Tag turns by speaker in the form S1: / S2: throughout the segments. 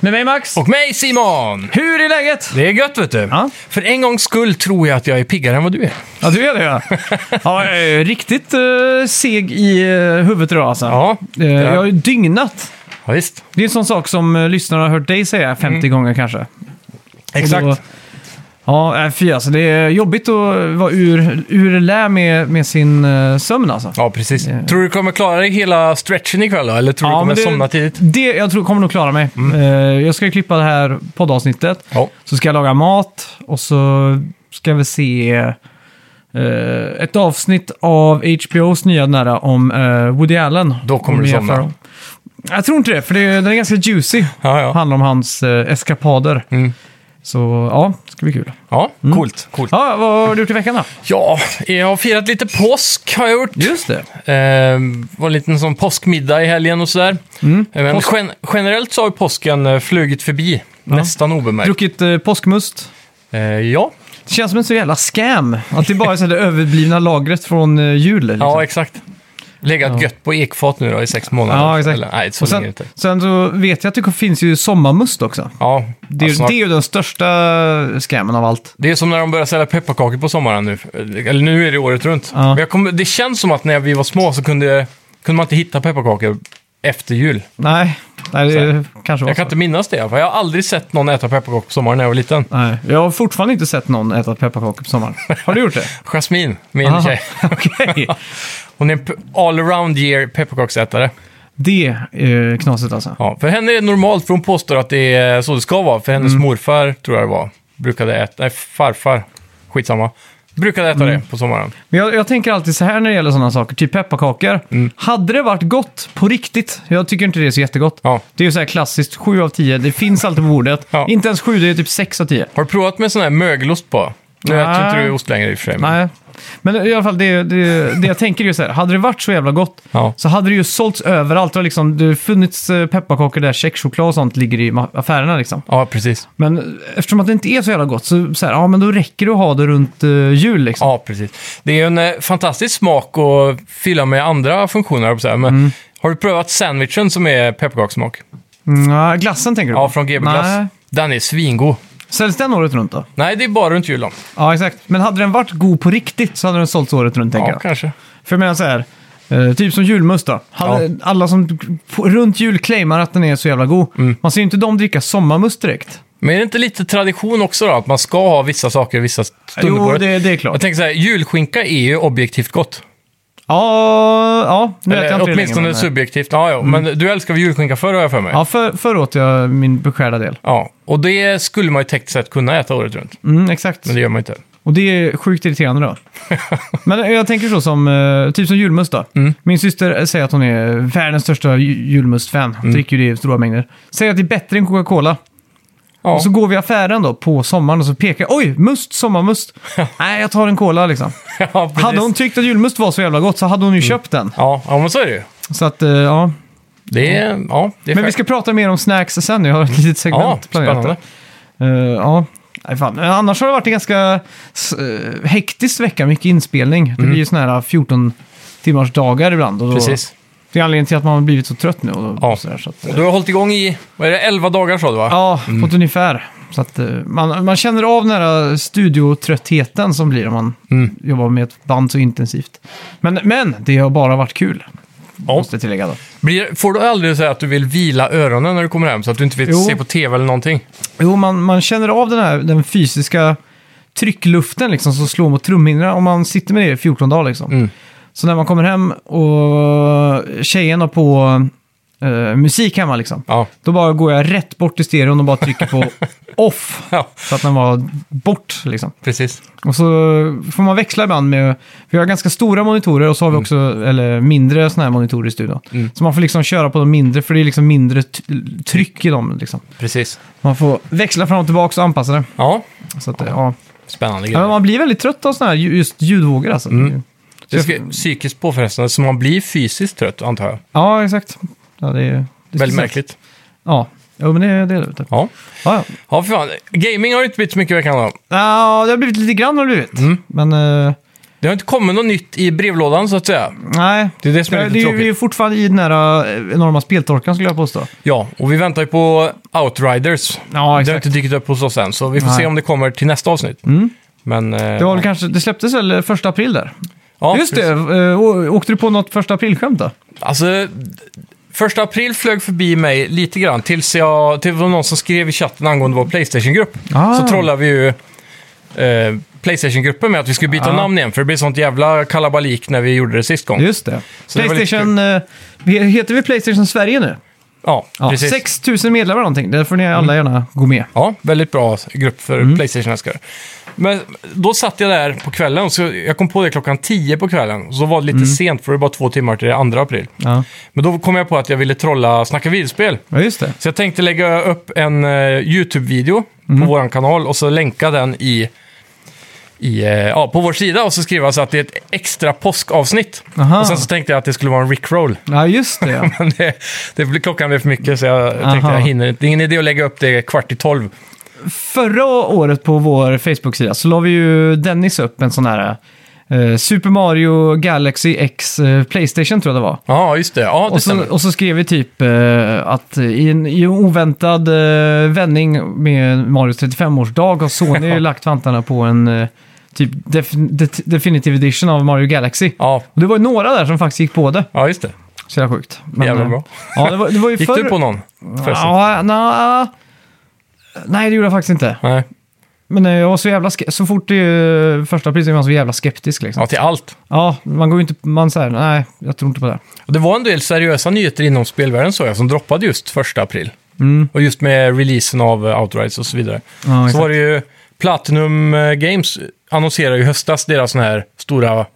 S1: Med mig Max.
S2: Och mig Simon!
S1: Hur är läget?
S2: Det är gött vet du.
S1: Ja.
S2: För en gångs skull tror jag att jag är piggare än vad du är.
S1: Ja, du är det ja. ja jag är riktigt eh, seg i uh, huvudet idag alltså.
S2: Ja,
S1: Eh, jag har ju dygnat.
S2: ja visst.
S1: Det är en sån sak som eh, lyssnarna har hört dig säga 50 gånger kanske. Och
S2: Mm. Exakt.
S1: Då, ja, äh, fy alltså. Det är jobbigt att vara ur, ur lä med, med sin eh, sömn alltså.
S2: Ja, precis.
S1: Ja.
S2: Tror du kommer klara dig hela stretchen ikväll då? Eller tror du kommer
S1: men det-
S2: somna tidigt? Mm.
S1: Det, jag tror kommer nog klara mig. Eh, jag ska ju klippa det här poddavsnittet.
S2: Ja.
S1: Så ska jag laga mat och så ska vi se eh, ett avsnitt av HBOs nya nära om eh, Woody Allen.
S2: Då kommer
S1: Om
S2: du
S1: Mia
S2: somna.
S1: Farrow. Jag tror inte det, för det, den är ganska juicy.
S2: Ja, ja.
S1: Handlar om hans eh, eskapader.
S2: Mm.
S1: Så ja, det ska bli kul.
S2: ja
S1: Mm.
S2: coolt. coolt.
S1: Ja, vad har du gjort i veckan då?
S2: Ja, jag har firat lite påsk har jag gjort.
S1: Just det.
S2: Eh, var en liten sån påskmiddag i helgen och sådär. Eh, Men
S1: Mm. Påsk-
S2: gen generellt så har ju påsken eh, flugit förbi. Nästan obemärkt.
S1: Druckit eh, påskmust.
S2: Eh, ja.
S1: Det känns som en så jävla scam. Att det bara är så här det överblivna lagret från eh, jul. Liksom.
S2: ja, exakt. Legat gött på ekfat nu då i sex månader.
S1: Ja, exakt.
S2: Eller, nej, så
S1: Och
S2: länge
S1: sen,
S2: inte.
S1: sen så vet jag att det finns ju sommarmust också.
S2: Ja,
S1: Det är,
S2: alltså,
S1: det är ju den största scammen av allt.
S2: Det är som när de börjar sälja pepparkakor på sommaren nu. Eller nu är det året runt.
S1: Ja.
S2: Men jag kommer, det känns som att när vi var små så kunde, kunde man inte hitta pepparkakor efter jul.
S1: Nej, nej
S2: Så
S1: det kanske var
S2: Jag kan
S1: så.
S2: inte minnas det. För jag har aldrig sett någon äta pepparkakor på sommaren när jag var liten.
S1: Nej, jag har fortfarande inte sett någon äta pepparkakor på sommaren. Har du gjort det?
S2: Jasmine, min
S1: Aha,
S2: tjej.
S1: Okej.
S2: Hon är en pe- all-around year pepparkaksätare.
S1: Det är knasigt alltså.
S2: Ja, för henne är det normalt, för hon påstår att det är så det ska vara. För
S1: Mm.
S2: hennes morfar, tror jag det var, brukade äta... Nej, farfar. Skitsamma. Brukade äta
S1: Mm.
S2: det på sommaren.
S1: Men jag, jag tänker alltid så här när det gäller sådana saker, typ pepparkakor.
S2: Mm.
S1: Hade det varit gott på riktigt, jag tycker inte det är så jättegott.
S2: Ja.
S1: Det är ju så här klassiskt, 7 av 10, det finns alltid på bordet.
S2: Ja. Mm.
S1: Inte ens 7, det är typ 6 av 10.
S2: Har du provat med sån här mögelost på? Nu
S1: Nej.
S2: äter inte du ost längre i och för sig. men-
S1: Nej, men i alla fall det, det, det jag tänker är ju så här, hade det varit så jävla gott
S2: Ja.
S1: så hade det ju sålts överallt. Det har liksom, det har funnits eh, pepparkakor där checkchoklad och sånt ligger i ma- affärerna liksom.
S2: Ja, precis. Men,
S1: Eftersom att det inte är så jävla gott så, så här, ja men då räcker det att ha det runt eh, jul liksom.
S2: ja, precis. Det är ju en eh, fantastisk smak att fylla med andra funktioner. på Så här. Men Har du prövat sandwichen som är pepparkakssmak?
S1: Mm, ja, glassen tänker du på?
S2: Ja, från GB
S1: Nej.
S2: Glass. Den är svingod.
S1: Säljs den året runt då?
S2: Nej, det är bara runt jul då.
S1: Ja, exakt. Men hade den varit god på riktigt så hade den sålts året runt tänker
S2: Ja,
S1: jag.
S2: kanske.
S1: För jag menar så här, eh, typ som julmust då. Hade,
S2: Ja.
S1: Alla som på- runt jul claimar att den är så jävla god.
S2: Mm.
S1: Man ser ju inte dem dricka sommarmust direkt.
S2: Men är det inte lite tradition också då, att man ska ha vissa saker vissa stunder på
S1: Jo,
S2: året?
S1: det, det är
S2: Jag
S1: klart.
S2: tänker så här, julskinka är ju objektivt gott.
S1: Ja, ja nu äter jag
S2: Eller,
S1: inte det längre,
S2: åtminstone
S1: men- eh, mm.
S2: subjektivt. Ja, ja. Men du älskar väl julskinka förr, har jag för mig?
S1: Ja, för, förr åt jag min beskärda del.
S2: Ja, Och det skulle man ju tekniskt sett kunna äta året runt.
S1: Mm, exakt.
S2: Men det gör man ju inte.
S1: Och det är sjukt irriterande då. Men jag tänker så som, eh, typ som julmust då.
S2: Mm.
S1: Min syster säger att hon är världens största ju- julmust-fan.
S2: Mm.
S1: Dricker ju det i stora mängder. Säger att det är bättre än Coca-Cola.
S2: Ja.
S1: Och så går vi i affären då på sommaren och så pekar oj, must, sommarmust. Nej, jag tar en cola liksom.
S2: ja, precis. Mm.
S1: Hade hon tyckt att julmust var så jävla gott så hade hon ju köpt den.
S2: Ja, ja, men så är det ju.
S1: Så att, eh, ja.
S2: Det är, ja, det
S1: Men vi
S2: är fair.
S1: ska prata mer om snacks sen. Jag har ett litet
S2: Ja,
S1: segment planerat.
S2: spännande.
S1: Eh, ja. Nej, fan. Men Annars har det varit en ganska uh, hektisk vecka, mycket inspelning. Det blir ju sådana här 14 timmars dagar ibland. Och då,
S2: Mm. Precis.
S1: Det är anledningen till att man har blivit så trött nu. Och,
S2: Ja.
S1: och sådär, så att, eh,
S2: Och Du har hållit igång i, vad är det, 11 dagar sa du va?
S1: ja, på ett ungefär. Så att, eh, man, man känner av den här studiotröttheten som blir om man
S2: Mm.
S1: jobbar med ett band så intensivt. Men, men det har bara varit kul. Måste jag tillägga då.
S2: Blir, får du aldrig säga att du vill vila öronen när du kommer hem så att du inte vill
S1: Jo.
S2: se på tv eller någonting?
S1: Jo, man, man känner av den här den fysiska tryckluften liksom, som slår mot trumhinnorna om man sitter med det i 14 dagar. Liksom.
S2: Mm.
S1: Så när man kommer hem och tjejen har på eh, musik hemma, liksom,
S2: Ja.
S1: då bara går jag rätt bort till stereon och bara trycker på off.
S2: ja,
S1: Så att den var bort liksom.
S2: precis.
S1: Och så får man växla ibland med... Vi har ganska stora monitorer och så har vi också eller mindre sådana här monitorer i studion. Så man får liksom köra på de mindre för det är liksom mindre t- tryck i dem. Liksom.
S2: Precis.
S1: Man får växla fram och tillbaka och anpassa det.
S2: Ja,
S1: Så att, ja.
S2: spännande
S1: Ja, men
S2: grejer.
S1: man blir väldigt trött av sådana här ju- just ljudvågor alltså.
S2: Mm. Det ska, psykiskt påfrestande, så man blir fysiskt trött antar jag.
S1: Ja, exakt. Ja, det är, det är speciellt.
S2: Väldigt märkligt.
S1: Ja. Jo, men det, det är det. vet du.
S2: Ja.
S1: Ja, ja.
S2: ja, för fan. Gaming har ju inte blivit så mycket i veckan då. Mm.
S1: Ja, det har blivit lite grann har det blivit. Men eh,
S2: Det har inte kommit något nytt i brevlådan så att säga.
S1: Nej,
S2: Det är det som är
S1: Ja,
S2: lite
S1: det är ju,
S2: tråkigt.
S1: vi är fortfarande i den här eh, enorma speltorkan skulle jag påstå.
S2: Ja, och vi väntar ju på Outriders.
S1: Ja,
S2: Det har
S1: exakt.
S2: inte dykt upp hos oss än, så vi får
S1: Nej. Mm.
S2: se om det kommer till nästa avsnitt. Men... eh,
S1: Det, var väl kanske, det släpptes väl eh, första april där?
S2: ja,
S1: Just
S2: precis.
S1: det, eh, å- åkte du på något första aprilskämt då?
S2: Alltså, första april flög förbi mig lite grann tills jag... Till det var någon som skrev i chatten angående vår Playstation-grupp.
S1: Ah.
S2: Så trollade vi ju eh, Playstation-gruppen med att vi skulle byta
S1: Ah.
S2: namn igen, för det blev sånt jävla kalabalik när vi gjorde det sist gång.
S1: Just det.
S2: Så det var lite
S1: Playstation, eh, heter vi Playstation Sverige nu?
S2: Ja,
S1: Ja,
S2: precis. Mm.
S1: 6 000 medlemmar någonting, där får ni alla gärna gå med.
S2: Ja, väldigt bra grupp för
S1: Mm.
S2: Playstation-älskare. Men då satt jag där på kvällen, så jag kom på det klockan 10 på kvällen. Och så var det lite
S1: Mm.
S2: sent, för det var bara två timmar till det 2 april.
S1: Ja,
S2: Men då kom jag på att jag ville trolla Snacka videospel.
S1: ja just det.
S2: Så jag tänkte lägga upp en eh, YouTube-video
S1: Mm.
S2: på vår kanal och så länka den i, i, eh, ja, på vår sida och så skriva så att det är ett extra påskavsnitt.
S1: Aha.
S2: Och sen så tänkte jag att det skulle vara en Rickroll.
S1: Ja, just det. ja.
S2: Men det, det, blev- klockan blev för mycket så jag tänkte
S1: Aha.
S2: jag hinner inte. Det är ingen idé att lägga upp det kvart i tolv.
S1: Förra året på vår Facebook-sida så la vi ju Dennis upp en sån här eh, Super Mario Galaxy X eh, Playstation tror jag det var.
S2: Ja, just det. Ja, det
S1: Och
S2: stämmer.
S1: så, och så skrev vi typ eh, att i en, i en oväntad eh, vändning med Marios 35-årsdag har Sony lagt vantarna på en eh, typ def, det- definitive edition av Mario Galaxy.
S2: Ja,
S1: Och det var ju några där som faktiskt gick på det.
S2: ja, just det.
S1: Så jävla sjukt.
S2: Jävla
S1: eh,
S2: bra.
S1: Ja, det var, det var ju
S2: Gick
S1: förr...
S2: du på någon? förresten?
S1: Ja, na, nej, det gjorde jag faktiskt inte.
S2: Nej.
S1: Men eh, jag var så jävla ske- Så fort det är första priset var man så jävla skeptisk liksom.
S2: Ja, till allt.
S1: Ja, man går ju inte... Man säger nej, jag tror inte på det.
S2: Och det var en del seriösa nyheter inom spelvärlden såg jag, som droppade just första april. Och just med releasen av eh, Outrides och så vidare.
S1: Mm. Ja,
S2: så
S1: exakt.
S2: var det ju Platinum eh, Games annonserade ju i höstas deras sån här stora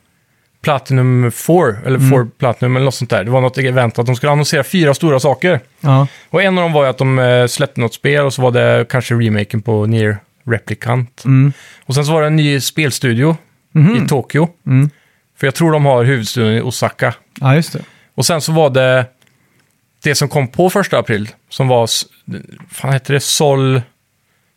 S2: Platinum 4, eller
S1: Mm.
S2: 4 Platinum eller något sånt där. Det var något event att de skulle annonsera fyra stora saker.
S1: Ja,
S2: Och en av dem var ju att de eh, släppte något spel och så var det kanske remaken på Near Replicant.
S1: mm.
S2: Och sen så var det en ny spelstudio i Tokyo.
S1: Mm.
S2: För jag tror de har huvudstudion i Osaka.
S1: ja just det.
S2: Och sen så var det det som kom på första april, som var, s- fan heter det, Sol...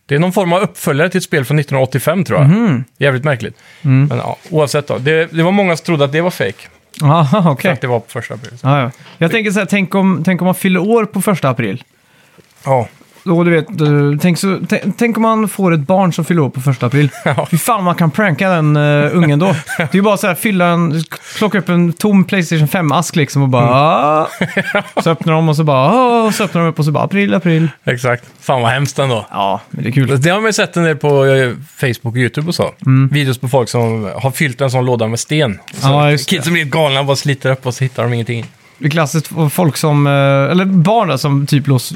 S2: Det är någon form av uppföljare till ett spel från 1985 tror jag.
S1: Mhm.
S2: Jävligt märkligt.
S1: Mm.
S2: Men ja, oavsett då. Det, det var många som trodde att det var fake.
S1: Aha,
S2: För
S1: okej.
S2: att det var på första april.
S1: Ja, ja. Jag tänker så här, tänk om, tänk om man fyller år på första april.
S2: Ja,
S1: Då, du vet, eh, tänk, så, tänk, tänk om man får ett barn som fyller år på första april.
S2: Ja.
S1: Fy fan man kan pranka den eh, ungen då. Det är ju bara så här, fylla en, plocka upp en tom Playstation 5-ask liksom och bara... "Ah."
S2: Mm.
S1: Så öppnar de och så bara... "Ah", Och så öppnar de upp och så bara april, april.
S2: exakt. Fan vad hemskt ändå.
S1: Ja, men det är kul.
S2: Det har man ju sett en del på eh, Facebook och YouTube och så.
S1: Mm.
S2: Videos på folk som har fyllt en sån låda med sten. Så
S1: Ja, just det.
S2: kids som blir galna och bara sliter upp och så hittar de ingenting.
S1: Det är klassiskt f- folk som... eh, Eller barn där, som typ lås,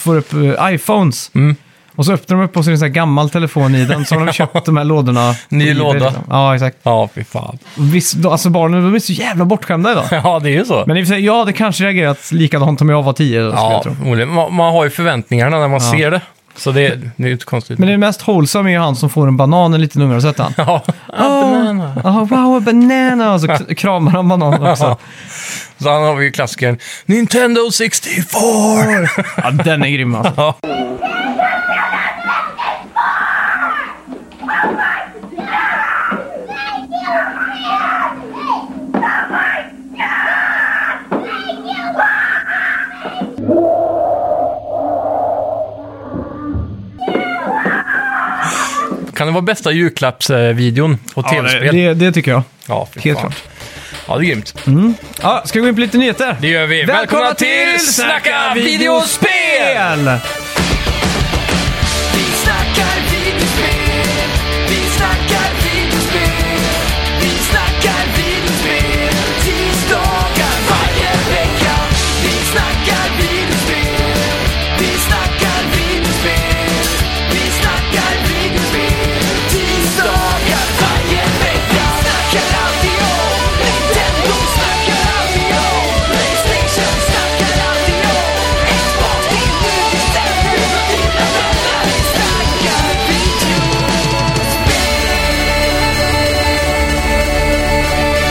S1: får upp eh, iPhones.
S2: Mm.
S1: Och så öppnar de upp och så är det en sån här gammal telefon i den. Så har de köpt de här lådorna. på
S2: Ny
S1: eBay,
S2: låda.
S1: Ja, exakt.
S2: Ja, fy fan.
S1: Viss, då- alltså barnen de är så jävla bortskämda idag.
S2: Ja, det är ju så.
S1: Men i och för sig, jag hade kanske reagerat likadant om jag var 10. då, skulle
S2: Ja,
S1: jag tro.
S2: förmodligen. man, man har ju förväntningarna när man
S1: Ja.
S2: ser det. Så det, det är ju inte konstigt.
S1: Men det mest wholesome är ju han som får en banan, en liten unge, har du sett han?
S2: Ja, banana.
S1: Oh, wow, a banana! Och så k- kramar han bananen också.
S2: Så han har vi ju klassikern Nintendo 64!
S1: Ja, den är grym alltså.
S2: Kan det vara bästa julklappsvideon på
S1: Ja,
S2: tv-spel?
S1: det, det, det tycker jag.
S2: Ja, fy
S1: Helt
S2: fan.
S1: klart.
S2: Ja, det är grymt.
S1: Ja, ska vi gå in på lite nyheter?
S2: Det gör vi. Välkomna, till Snacka videospel!
S3: Vi snackar videospel, vi snackar videospel, vi snackar videospel, tisdagar varje vecka. Vi snackar videospel, vi snackar videospel, vi snackar videospel, tisdagar varje vecka. Snackar alltid om Nintendo, snackar alltid om Playstation, snackar alltid om Xbox, det är nu vi sätter dina vänner. Vi snackar video.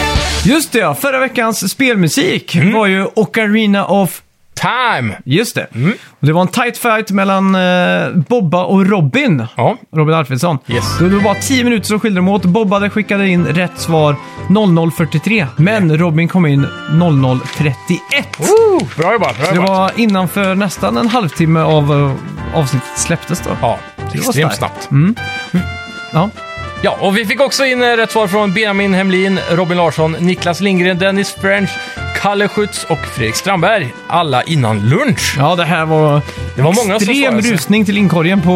S2: Mm.
S1: Just det ja, förra veckans spelmusik var ju Ocarina of
S2: Time!
S1: Just det.
S2: Mm.
S1: Och det var en tight fight mellan eh, Bobba och Robin.
S2: Ja,
S1: Robin Alfredsson.
S2: Yes.
S1: Det var bara 10 minuter som skilde dem åt. Bobba hade skickade in rätt svar 00.43. Men Robin kom in 00.31.
S2: Woo! bra jobbat, bra
S1: Det
S2: jobbat.
S1: var innanför nästan en halvtimme av eh, avsnittet släpptes då.
S2: Ja, extremt
S1: starkt. Mm.
S2: snabbt.
S1: Ja.
S2: Ja, och vi fick också in eh, rätt svar från Benjamin Hemlin, Robin Larsson, Niklas Lindgren, Dennis French, Kalle Schütz och Fredrik Strandberg. Alla innan lunch.
S1: ja, det här var,
S2: Det var många som
S1: extrem
S2: svarade sig.
S1: rusning till inkorgen på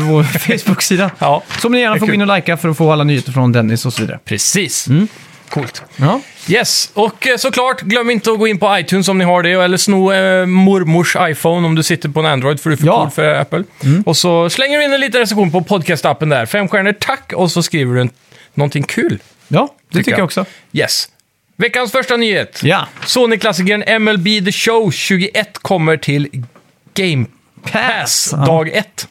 S1: vår Facebook-sida.
S2: Ja,
S1: Som ni gärna
S2: Det är
S1: får gå
S2: kul.
S1: in och likea för att få alla nyheter från Dennis och så vidare.
S2: precis.
S1: Mm.
S2: Coolt.
S1: Ja.
S2: Yes, och eh, såklart, glöm inte att gå in på iTunes om ni har det, eller sno eh, mormors iPhone om du sitter på en Android, för du är för
S1: Ja. Mm.
S2: cool för Apple. Och så slänger du in en liten recension på podcastappen där. Fem stjärnor, tack! Och så skriver du en, någonting kul.
S1: ja, det tycker
S2: jag.
S1: jag också.
S2: Yes. Veckans första nyhet.
S1: Ja.
S2: Sony-klassikern MLB The Show 21 kommer till Game Pass
S1: Ja. Mm.
S2: dag 1.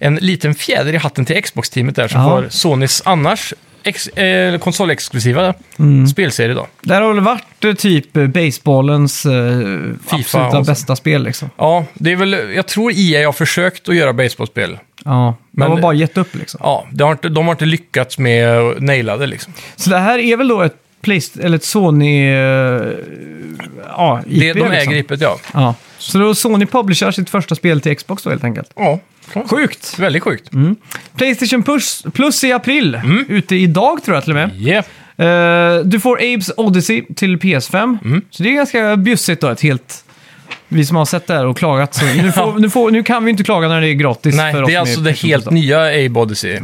S2: En liten fjäder i hatten till Xbox-teamet där som
S1: Ja.
S2: har Sonys annars ex- eh, konsolexklusiva
S1: Mm.
S2: spelserie då.
S1: Det här har väl varit eh, typ eh, baseballens eh, absoluta
S2: och så.
S1: bästa spel liksom.
S2: Ja, det är väl, jag tror EA har försökt att göra baseballspel.
S1: Ja, men
S2: Men-
S1: man har bara gett upp liksom.
S2: Ja, det har inte, de har inte lyckats med att naila det liksom.
S1: Så det här är väl då ett, Playst- eller ett Sony... eh, ja, IP
S2: Det, de äger
S1: liksom.
S2: IPet, ja.
S1: Ja. Så då Sony publicerar sitt första spel till Xbox då helt enkelt.
S2: Ja,
S1: Sjukt! Mm.
S2: väldigt sjukt.
S1: Playstation Plus, Plus i april.
S2: Mm.
S1: Ute idag tror jag till och med.
S2: Yeah. Mm.
S1: Eh, du får Abes Odyssey till PS5. Så det är ganska bjussigt då, ett helt... Vi som har sett det här och klagat. Så nu, får, nu, får, nu kan vi inte klaga när det är gratis
S2: Nej,
S1: för oss
S2: det
S1: med
S2: är
S1: Mm.
S2: alltså det
S1: PlayStation
S2: helt
S1: Plus då.
S2: nya Abe Odyssey.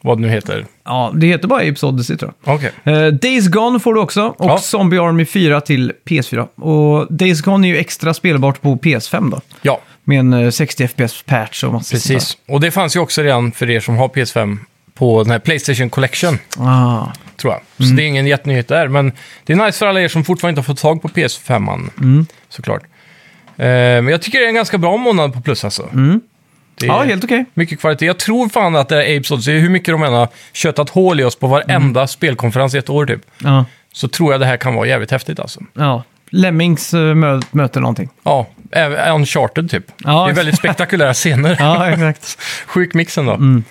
S2: Vad det nu heter.
S1: Ja, det heter bara Apes Odyssey tror jag.
S2: Okej.
S1: Eh, Days Gone får du också och
S2: Ja.
S1: Zombie Army 4 till PS4. Och Days Gone är ju extra spelbart på PS5 då.
S2: Ja,
S1: Med en eh, 60 FPS-patch och massa sånt
S2: precis. Och det fanns ju också redan för er som har PS5 på den här Playstation Collection,
S1: där. Ah.
S2: tror jag. Så det är ingen jättenyhet där, men det är nice för alla er som fortfarande inte har fått tag på PS5, an
S1: Mm.
S2: såklart. Eh, Men jag tycker det är en ganska bra månad på plus alltså. Det är
S1: Mm. Ja, helt okej.
S2: Mycket kvalitet. Jag tror fan att det är Apes Odyssey, hur mycket de än har köttat hål i oss på varenda
S1: Mm.
S2: spelkonferens i ett år typ,
S1: Ja.
S2: så tror jag det här kan vara jävligt häftigt alltså.
S1: ja. Lemmings eh, mö möter någonting.
S2: Ja, även Uncharted typ.
S1: Ja.
S2: Det är väldigt spektakulära scener.
S1: Ja, exakt.
S2: Sjuk mixen då.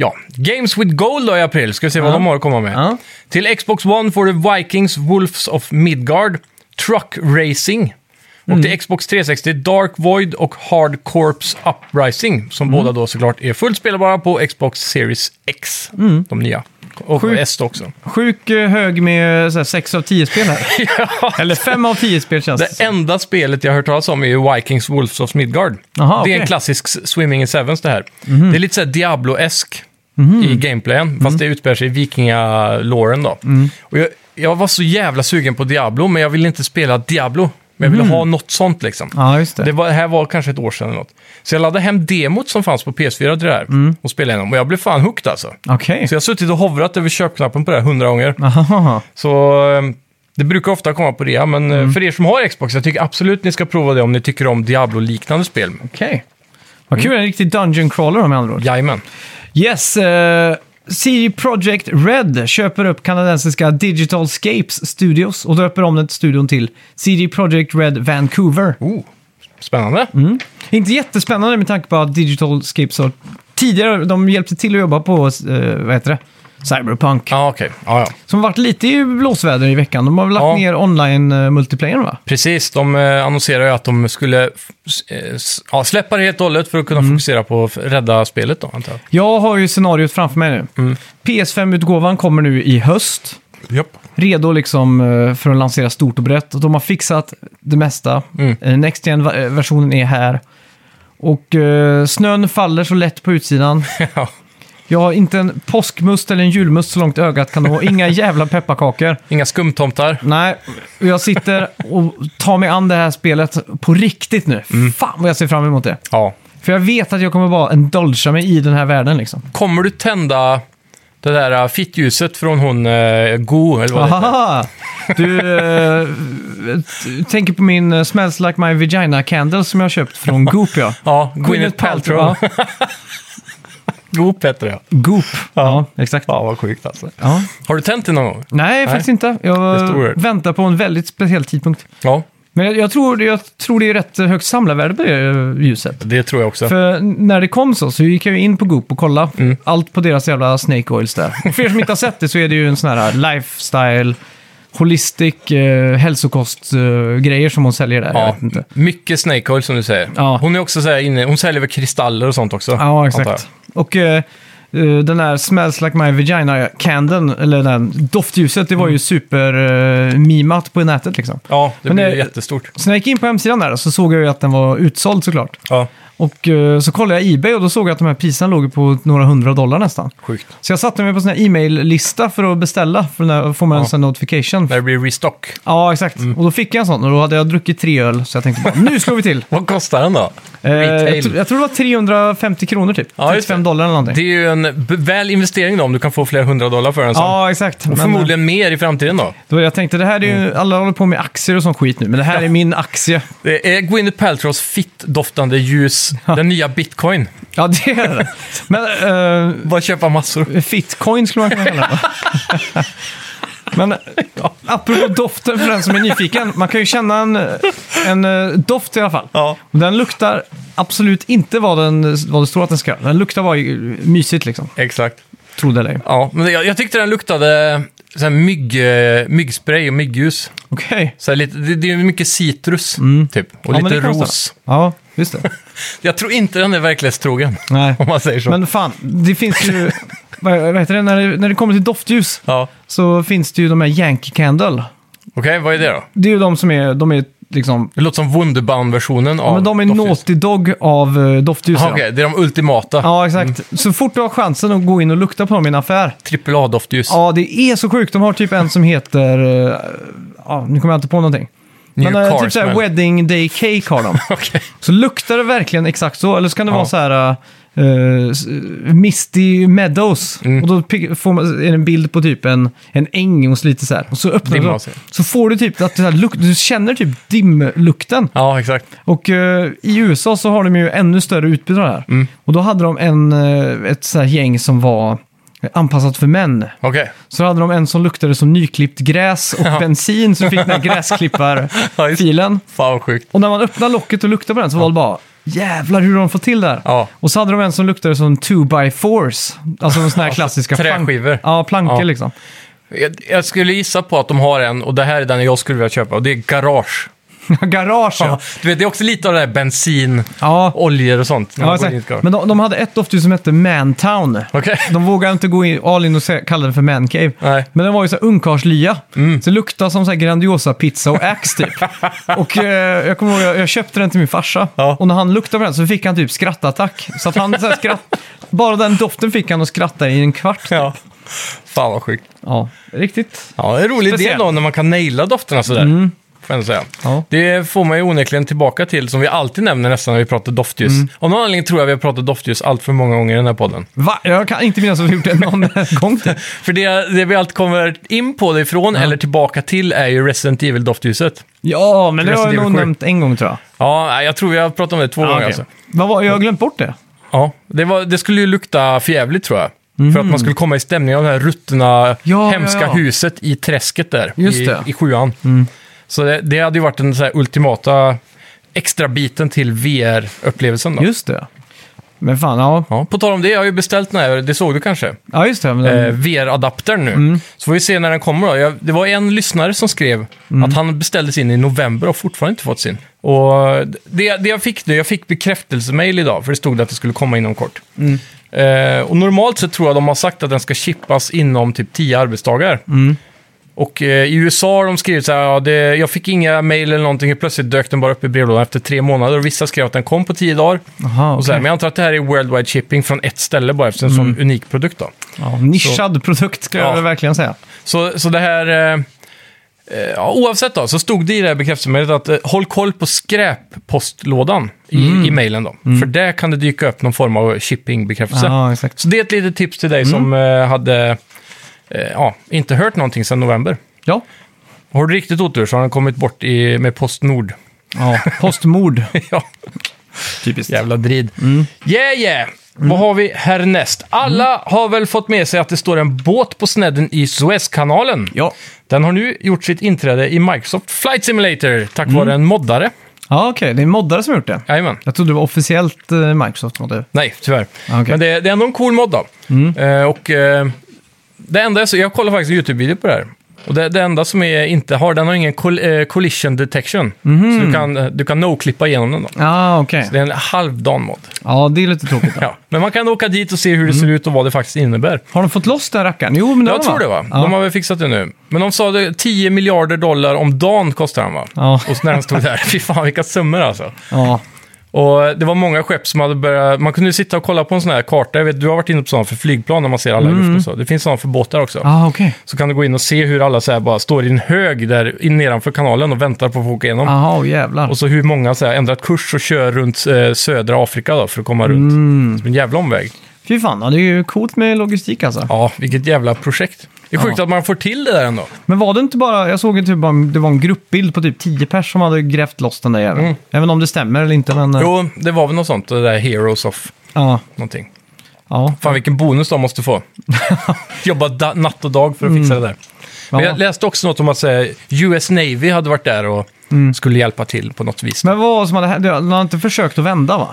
S2: Ja, Games with Gold då i april. Ska vi se vad
S1: Mm. Ja.
S2: de har att komma med.
S1: Ja.
S2: Till Xbox One får du Vikings Wolves of Midgard, Truck Racing. Och
S1: Mm.
S2: till Xbox 360 Dark Void och Hard Corps Uprising. Som
S1: Mm.
S2: båda då såklart är fullt spelbara på Xbox Series X. De nya. Och
S1: Mm. Sjukt.
S2: S då också.
S1: Sjuk eh, hög med 6 av 10 spel här. Eller 5 av 10 spel känns det
S2: Det
S1: som.
S2: enda spelet jag har hört talas om är ju Vikings Wolves of Midgard.
S1: Aha,
S2: Det är
S1: okej. Mhm.
S2: en klassisk s- Swimming in Sevens det här. Det är lite såhär Diablo-esk i gameplayen, fast det utspelar sig i vikingalåren då.
S1: Mm.
S2: Och jag, jag var så jävla sugen på Diablo, men jag ville inte spela Diablo. Men jag ville ha något sånt liksom.
S1: Mhm. Ja, just det.
S2: Det var, det här var kanske ett år sedan eller något. Så jag laddade hem demot som fanns på PS4 till det här och spelade igenom. Och jag blev fan hooked alltså.
S1: Mm. Okej.
S2: Så jag har suttit och hovrat över köpknappen på det här hundra gånger.
S1: Aha.
S2: Så eh, det brukar ofta komma på rea, men eh, för er som har Xbox, jag tycker absolut ni ska prova det om ni tycker om Diablo-liknande spel.
S1: Okej. Vad kul, en riktig dungeon crawler om jag andra ord.
S2: Jajamän.
S1: Yes, eh, CD Projekt Red köper upp kanadensiska Digital Scapes Studios och döper om den till studion till CD Projekt Red Vancouver.
S2: Oh, spännande.
S1: Inte jättespännande med tanke på att Digital Scapes har tidigare, de hjälpte till att jobba på, eh, vad heter det? Cyberpunk.
S2: Ja, okej. Ja, ja.
S1: Som varit lite i blåsväder i veckan. De har väl lagt
S2: Ja.
S1: ner online-multiplayern va?
S2: Precis, de eh, annonserade ju att de skulle eh, s- ja, släppa det helt och hållet för att kunna fokusera på att rädda spelet då, antar jag.
S1: Jag har ju scenariot framför mig nu. PS5-utgåvan kommer nu i höst.
S2: Japp.
S1: redo liksom eh, för att lansera stort och brett. Och de har fixat det mesta.
S2: Mm.
S1: Eh, Next Gen-versionen är här. Och eh, snön faller så lätt på utsidan.
S2: Ja.
S1: Jag har inte en påskmust eller en julmust så långt ögat kan nå. Inga jävla pepparkakor.
S2: Inga skumtomtar.
S1: Nej, och jag sitter och tar mig an det här spelet på riktigt nu. Fan vad jag ser fram emot det.
S2: Ja.
S1: För jag vet att jag kommer bara indulga mig i den här världen liksom.
S2: Kommer du tända det där eh, fittljuset från hon eh, Go, eller vad det heter?
S1: Aha! Du eh, t- tänker på min eh, Smells Like My Vagina Candle som jag har köpt från Goop ja.
S2: Ja, Gwyneth Paltrow.
S1: ja.
S2: Goop heter det, ja.
S1: Goop. Ja, exakt.
S2: Ja, vad sjukt alltså.
S1: Ja.
S2: Har du tänt det någon gång?
S1: Nej, faktiskt inte.
S2: Det är
S1: Jag
S2: stor.
S1: väntar på en väldigt speciell tidpunkt.
S2: Ja.
S1: Men jag, jag, tror, jag tror det är rätt högt samlarvärde på det eh, ljuset.
S2: Det tror jag också.
S1: För när det kom så, så gick jag ju in på Goop och kollade
S2: Mm.
S1: allt på deras jävla Snake Oils där. För er som inte har sett det så är det ju en sån här lifestyle, holistic, eh, hälsokost-grejer som hon säljer där. Jag
S2: Ja,
S1: vet inte.
S2: mycket snake oil som du säger.
S1: Ja.
S2: Hon är också så här inne, hon säljer väl kristaller och sånt också.
S1: Ja,
S2: antar
S1: exakt. Och eh, eh, den här Smells Like My Vagina-canden, eller den doftljuset, det var
S2: Mm.
S1: ju supermimat eh, mimat på nätet liksom.
S2: jag. Ja, det
S1: Men
S2: blir
S1: det-
S2: jättestort.
S1: Så när jag gick in på hemsidan där så såg jag ju att den var utsåld såklart.
S2: Ja,
S1: Och eh, så kollade jag Ebay och då såg jag att de här priserna låg på några hundra dollar nästan.
S2: sjukt.
S1: Så jag satte mig på sån här e-mail-lista för att beställa, för när får man en
S2: Ja. Mm.
S1: sån notification.
S2: När det blir restock.
S1: Ja, exakt. Och då fick jag en sån och då hade jag druckit tre öl, så jag tänkte bara, nu slår vi till.
S2: Vad kostar den då?
S1: Eh, jag,
S2: Retail.
S1: tro, jag tror det var 350 kronor typ.
S2: Ja, just det.
S1: 35 dollar eller någonting.
S2: Det är ju en b- väl investering då, om du kan få flera hundra dollar för den sen.
S1: Ja, exakt.
S2: och
S1: Men,
S2: förmodligen Mm. mer i framtiden då.
S1: eh, Då jag tänkte, det här är ju, alla håller på med aktier och sån skit nu, men det här är min aktie.
S2: Det är Gwyneth Paltrows fittdoftande ljus, den nya bitcoin.
S1: Ja, det är det. Men
S2: Bara köpa massor.
S1: eh, fitcoin skulle man kunna kalla det. Men eh, apropå doften för den som är nyfiken, man kan ju känna en, en eh, doft i alla fall.
S2: Ja.
S1: Och Den luktar absolut inte vad, den, vad det står att den ska göra. Den luktar bara ju- mysigt liksom,
S2: Exakt.
S1: trodde eller ej.
S2: Ja, men jag, jag tyckte den luktade så här mygg, eh, myggspray och myggljus.
S1: Okej.
S2: Så här lite, det, det är mycket citrus, typ. Och
S1: Mm. Ja, men
S2: lite
S1: det kan
S2: ros.
S1: stanna. Ja, just det.
S2: Jag tror inte den är verklighetstrogen,
S1: Nej.
S2: om man säger så.
S1: Men fan, det finns ju... vad vad heter det? När, det, när det kommer till doftljus
S2: Ja.
S1: så finns det ju de här Yankee Candle.
S2: Okej, vad är det då?
S1: Det är ju de som är, de är liksom...
S2: Det låter som Wunderbaum-versionen av
S1: men de är
S2: doftljus.
S1: Naughty Dog av uh, doftljus.
S2: Ja,
S1: ja.
S2: okej, Mm. det är de ultimata.
S1: Ja, exakt. Så fort du har chansen att gå in och lukta på dem i en affär.
S2: Trippel A-doftljus.
S1: Ja, det är så sjukt. De har typ en som heter... eh, ja, nu kommer jag inte på någonting.
S2: New
S1: Men eh,
S2: Cars,
S1: typ såhär
S2: men-
S1: Wedding Day Cake har de.
S2: Okej.
S1: Så luktar det verkligen exakt så? Eller så kan det
S2: Ja.
S1: vara så här... eh, s- Misty Meadows.
S2: Mm.
S1: Och då pick- får man, är det en bild på typ en, en äng och så lite så här. Och så öppnar
S2: Dimma
S1: du
S2: och så.
S1: Så får du typ att det här luk- du känner typ dimlukten.
S2: Ja, exakt.
S1: Och eh, i USA så har de ju ännu större utbud av det här.
S2: Mm.
S1: Och då hade de en, eh, ett så här gäng som var anpassat för män.
S2: Okej.
S1: Så hade de en som luktade som nyklippt gräs och bensin, så du fick den här
S2: Ja, just-
S1: gräsklipparfilen.
S2: Fan vad sjukt.
S1: Och när man öppnade locket och luktade på den så var det bara jävlar hur de får till det här.
S2: Ja.
S1: Och så hade de en som luktade som 2x4s. Alltså de såna här klassiska
S2: träskivor.
S1: Ja, plankor
S2: Ja.
S1: liksom.
S2: Jag, jag skulle gissa på att de har en, och det här är den jag skulle vilja köpa, och det är garage.
S1: Garage ja.
S2: Du vet, det är också lite av det här bensin,
S1: Ja,
S2: oljor och sånt. när
S1: ja
S2: man går in i ett
S1: exakt.
S2: garage.
S1: Men de, de hade ett doftljus som hette Mantown.
S2: Okej.
S1: De vågade inte gå in, all in och se, kalla den för mancave.
S2: Nej. Mm.
S1: Men den var ju så här ungkarlslya. Så det luktade som så här Grandiosa-pizza och Axe typ. och eh, jag kommer ihåg, jag, jag köpte den till min farsa.
S2: Ja.
S1: Och när han luktade på den så fick han typ skrattattack. Så att han så här skratt... Bara den doften fick han att skratta i en kvart.
S2: Ja. Fan vad sjukt.
S1: Ja, riktigt.
S2: Ja, det är en rolig idé
S1: Speciellt. Mm.
S2: då när man kan naila dofterna sådär. Får jag ändå säga.
S1: Ja.
S2: Det får man ju onekligen tillbaka till, som vi alltid nämner nästan när vi pratar doftljus.
S1: Mm.
S2: Av någon anledning tror jag vi har pratat doftljus allt för många gånger i den här podden.
S1: Va? Jag kan inte minnas att vi gjort det någon gång till.
S2: För det, det vi alltid kommer in på det ifrån, eller tillbaka till, är ju Resident Evil-doftljuset.
S1: Ja, men det har jag
S2: Resident
S1: nog
S2: Evil sju.
S1: nämnt en gång tror jag.
S2: Ja, nej, jag tror vi har pratat om det två gånger alltså.
S1: Vad var, jag har glömt bort det.
S2: Ja, det, var, det skulle ju lukta förjävligt tror jag. För att man skulle komma i stämning av det här ruttna,
S1: ja,
S2: hemska
S1: ja.
S2: huset i träsket där.
S1: Just
S2: i,
S1: det. Mm.
S2: I sjuan. Så det, det hade ju varit den så här ultimata extra biten till VR-upplevelsen då.
S1: Just det. Men fan, ja.
S2: Ja, på tal om det, jag har ju beställt den här, det såg du kanske,
S1: Ja, just det. Men den,
S2: eh, VR-adaptern nu. Så får vi se när den kommer då. Jag, det var en lyssnare som skrev att han beställde sin i november och fortfarande inte fått sin. Och det, det jag fick nu, jag fick bekräftelsemail idag, för det stod att det skulle komma inom kort. Eh, och normalt så tror jag de har sagt att den ska chippas inom typ 10 arbetsdagar. Och eh, i USA har de skrivit så här, ja, det, jag fick inga mail eller någonting, plötsligt dök den bara upp i brevlådan efter tre månader och vissa skrev att den kom på 10 dagar.
S1: aha,
S2: Och så här,
S1: okej.
S2: men jag antar att det här är worldwide shipping från ett ställe bara, eftersom det är en sån unik produkt då.
S1: ja, nischad produkt skulle
S2: Ja.
S1: jag verkligen säga.
S2: Så, så det här... eh, eh, Ja, oavsett då, så stod det i det här bekräftelsemeddelandet att eh, håll koll på skräppostlådan i,
S1: Mm.
S2: i mejlen då. För där kan det dyka upp någon form av shippingbekräftelse.
S1: Ja, exakt. Mm.
S2: Så det är ett litet tips till dig som eh, hade eh, ja, inte hört någonting sedan november.
S1: Ja.
S2: Har du riktigt otur så har den kommit bort i, med Postnord.
S1: Ja, postmord.
S2: ja,
S1: Typiskt. Mm.
S2: jävla drid. Yeah, yeah! Vad har vi härnäst? Alla har väl fått med sig att det står en båt på snedden i Suezkanalen.
S1: Ja.
S2: Den har nu gjort sitt inträde i Microsoft Flight Simulator tack vare
S1: Mm.
S2: en moddare.
S1: Ja, okej. Det är moddare som har gjort det.
S2: Jajamän.
S1: Jag trodde det var officiellt eh, Microsoft modder.
S2: Nej, tyvärr.
S1: Ah, okej. Mm.
S2: Men det, det är ändå en cool mod då. Eh, och, eh, det enda jag, så, jag kollar faktiskt YouTube-video på det här. Och det, det enda som är inte har, den har ingen coll, eh, collision detection. Så
S1: Mhm.
S2: du kan, eh, du kan no-klippa igenom den då.
S1: Ja, ah, okej.
S2: Det är en halvdan mod.
S1: Ja, det är lite tråkigt. då.
S2: Ja. Men man kan åka dit och se hur det ser ut och vad det faktiskt innebär.
S1: Har de fått loss den rackaren? Jo, men det
S2: Jag
S1: har de,
S2: tror det va?
S1: Ja.
S2: De har väl fixat det nu. Men de sa det, 10 miljarder dollar om dagen kostar den va?
S1: Ja.
S2: Och så när den stod där, fy fan vilka summor alltså.
S1: ja.
S2: Och det var många skepp som hade börjat... Man kunde ju sitta och kolla på en sån här karta. Jag vet, du har varit inne på sådana för flygplan när man ser alla i luften. och Så. Det finns sådana för båtar också.
S1: Mm. Ja, ah, okej.
S2: Så kan du gå in och se hur alla så här bara står i en hög där in nedanför kanalen och väntar på att få åka igenom.
S1: Jaha, och jävlar.
S2: Och så hur många så här ändrat kurs och kör runt eh, södra Afrika då för att komma runt.
S1: Mm.
S2: Som en jävla omväg.
S1: Fy fan, ja, det är ju coolt med logistik alltså.
S2: Ja, vilket jävla projekt. Det är sjukt att man får till det där ändå.
S1: Men var det inte bara, jag såg ju typ bara, det var en gruppbild på typ 10 pers som hade grävt loss den där jäveln. Även om det stämmer eller inte, men... eh,
S2: Mm. Jo, det var väl något sånt. Det där Heroes of
S1: Ja,
S2: någonting.
S1: ja.
S2: Fan vilken bonus de måste få. Jobba da- natt och dag för att
S1: Mm.
S2: fixa det där. Men
S1: Ja.
S2: jag läste också något om att säga, US Navy hade varit där och skulle hjälpa till på något vis.
S1: Mm. Men vad var det som hade hänt? De har inte försökt att vända va?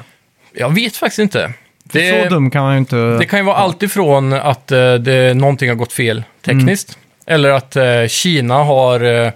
S2: Jag vet faktiskt inte.
S1: Så
S2: Det,
S1: dum kan man ju inte...
S2: det kan ju vara allt ifrån att eh, det, någonting har gått fel tekniskt,
S1: Mm.
S2: eller att eh, Kina har eh,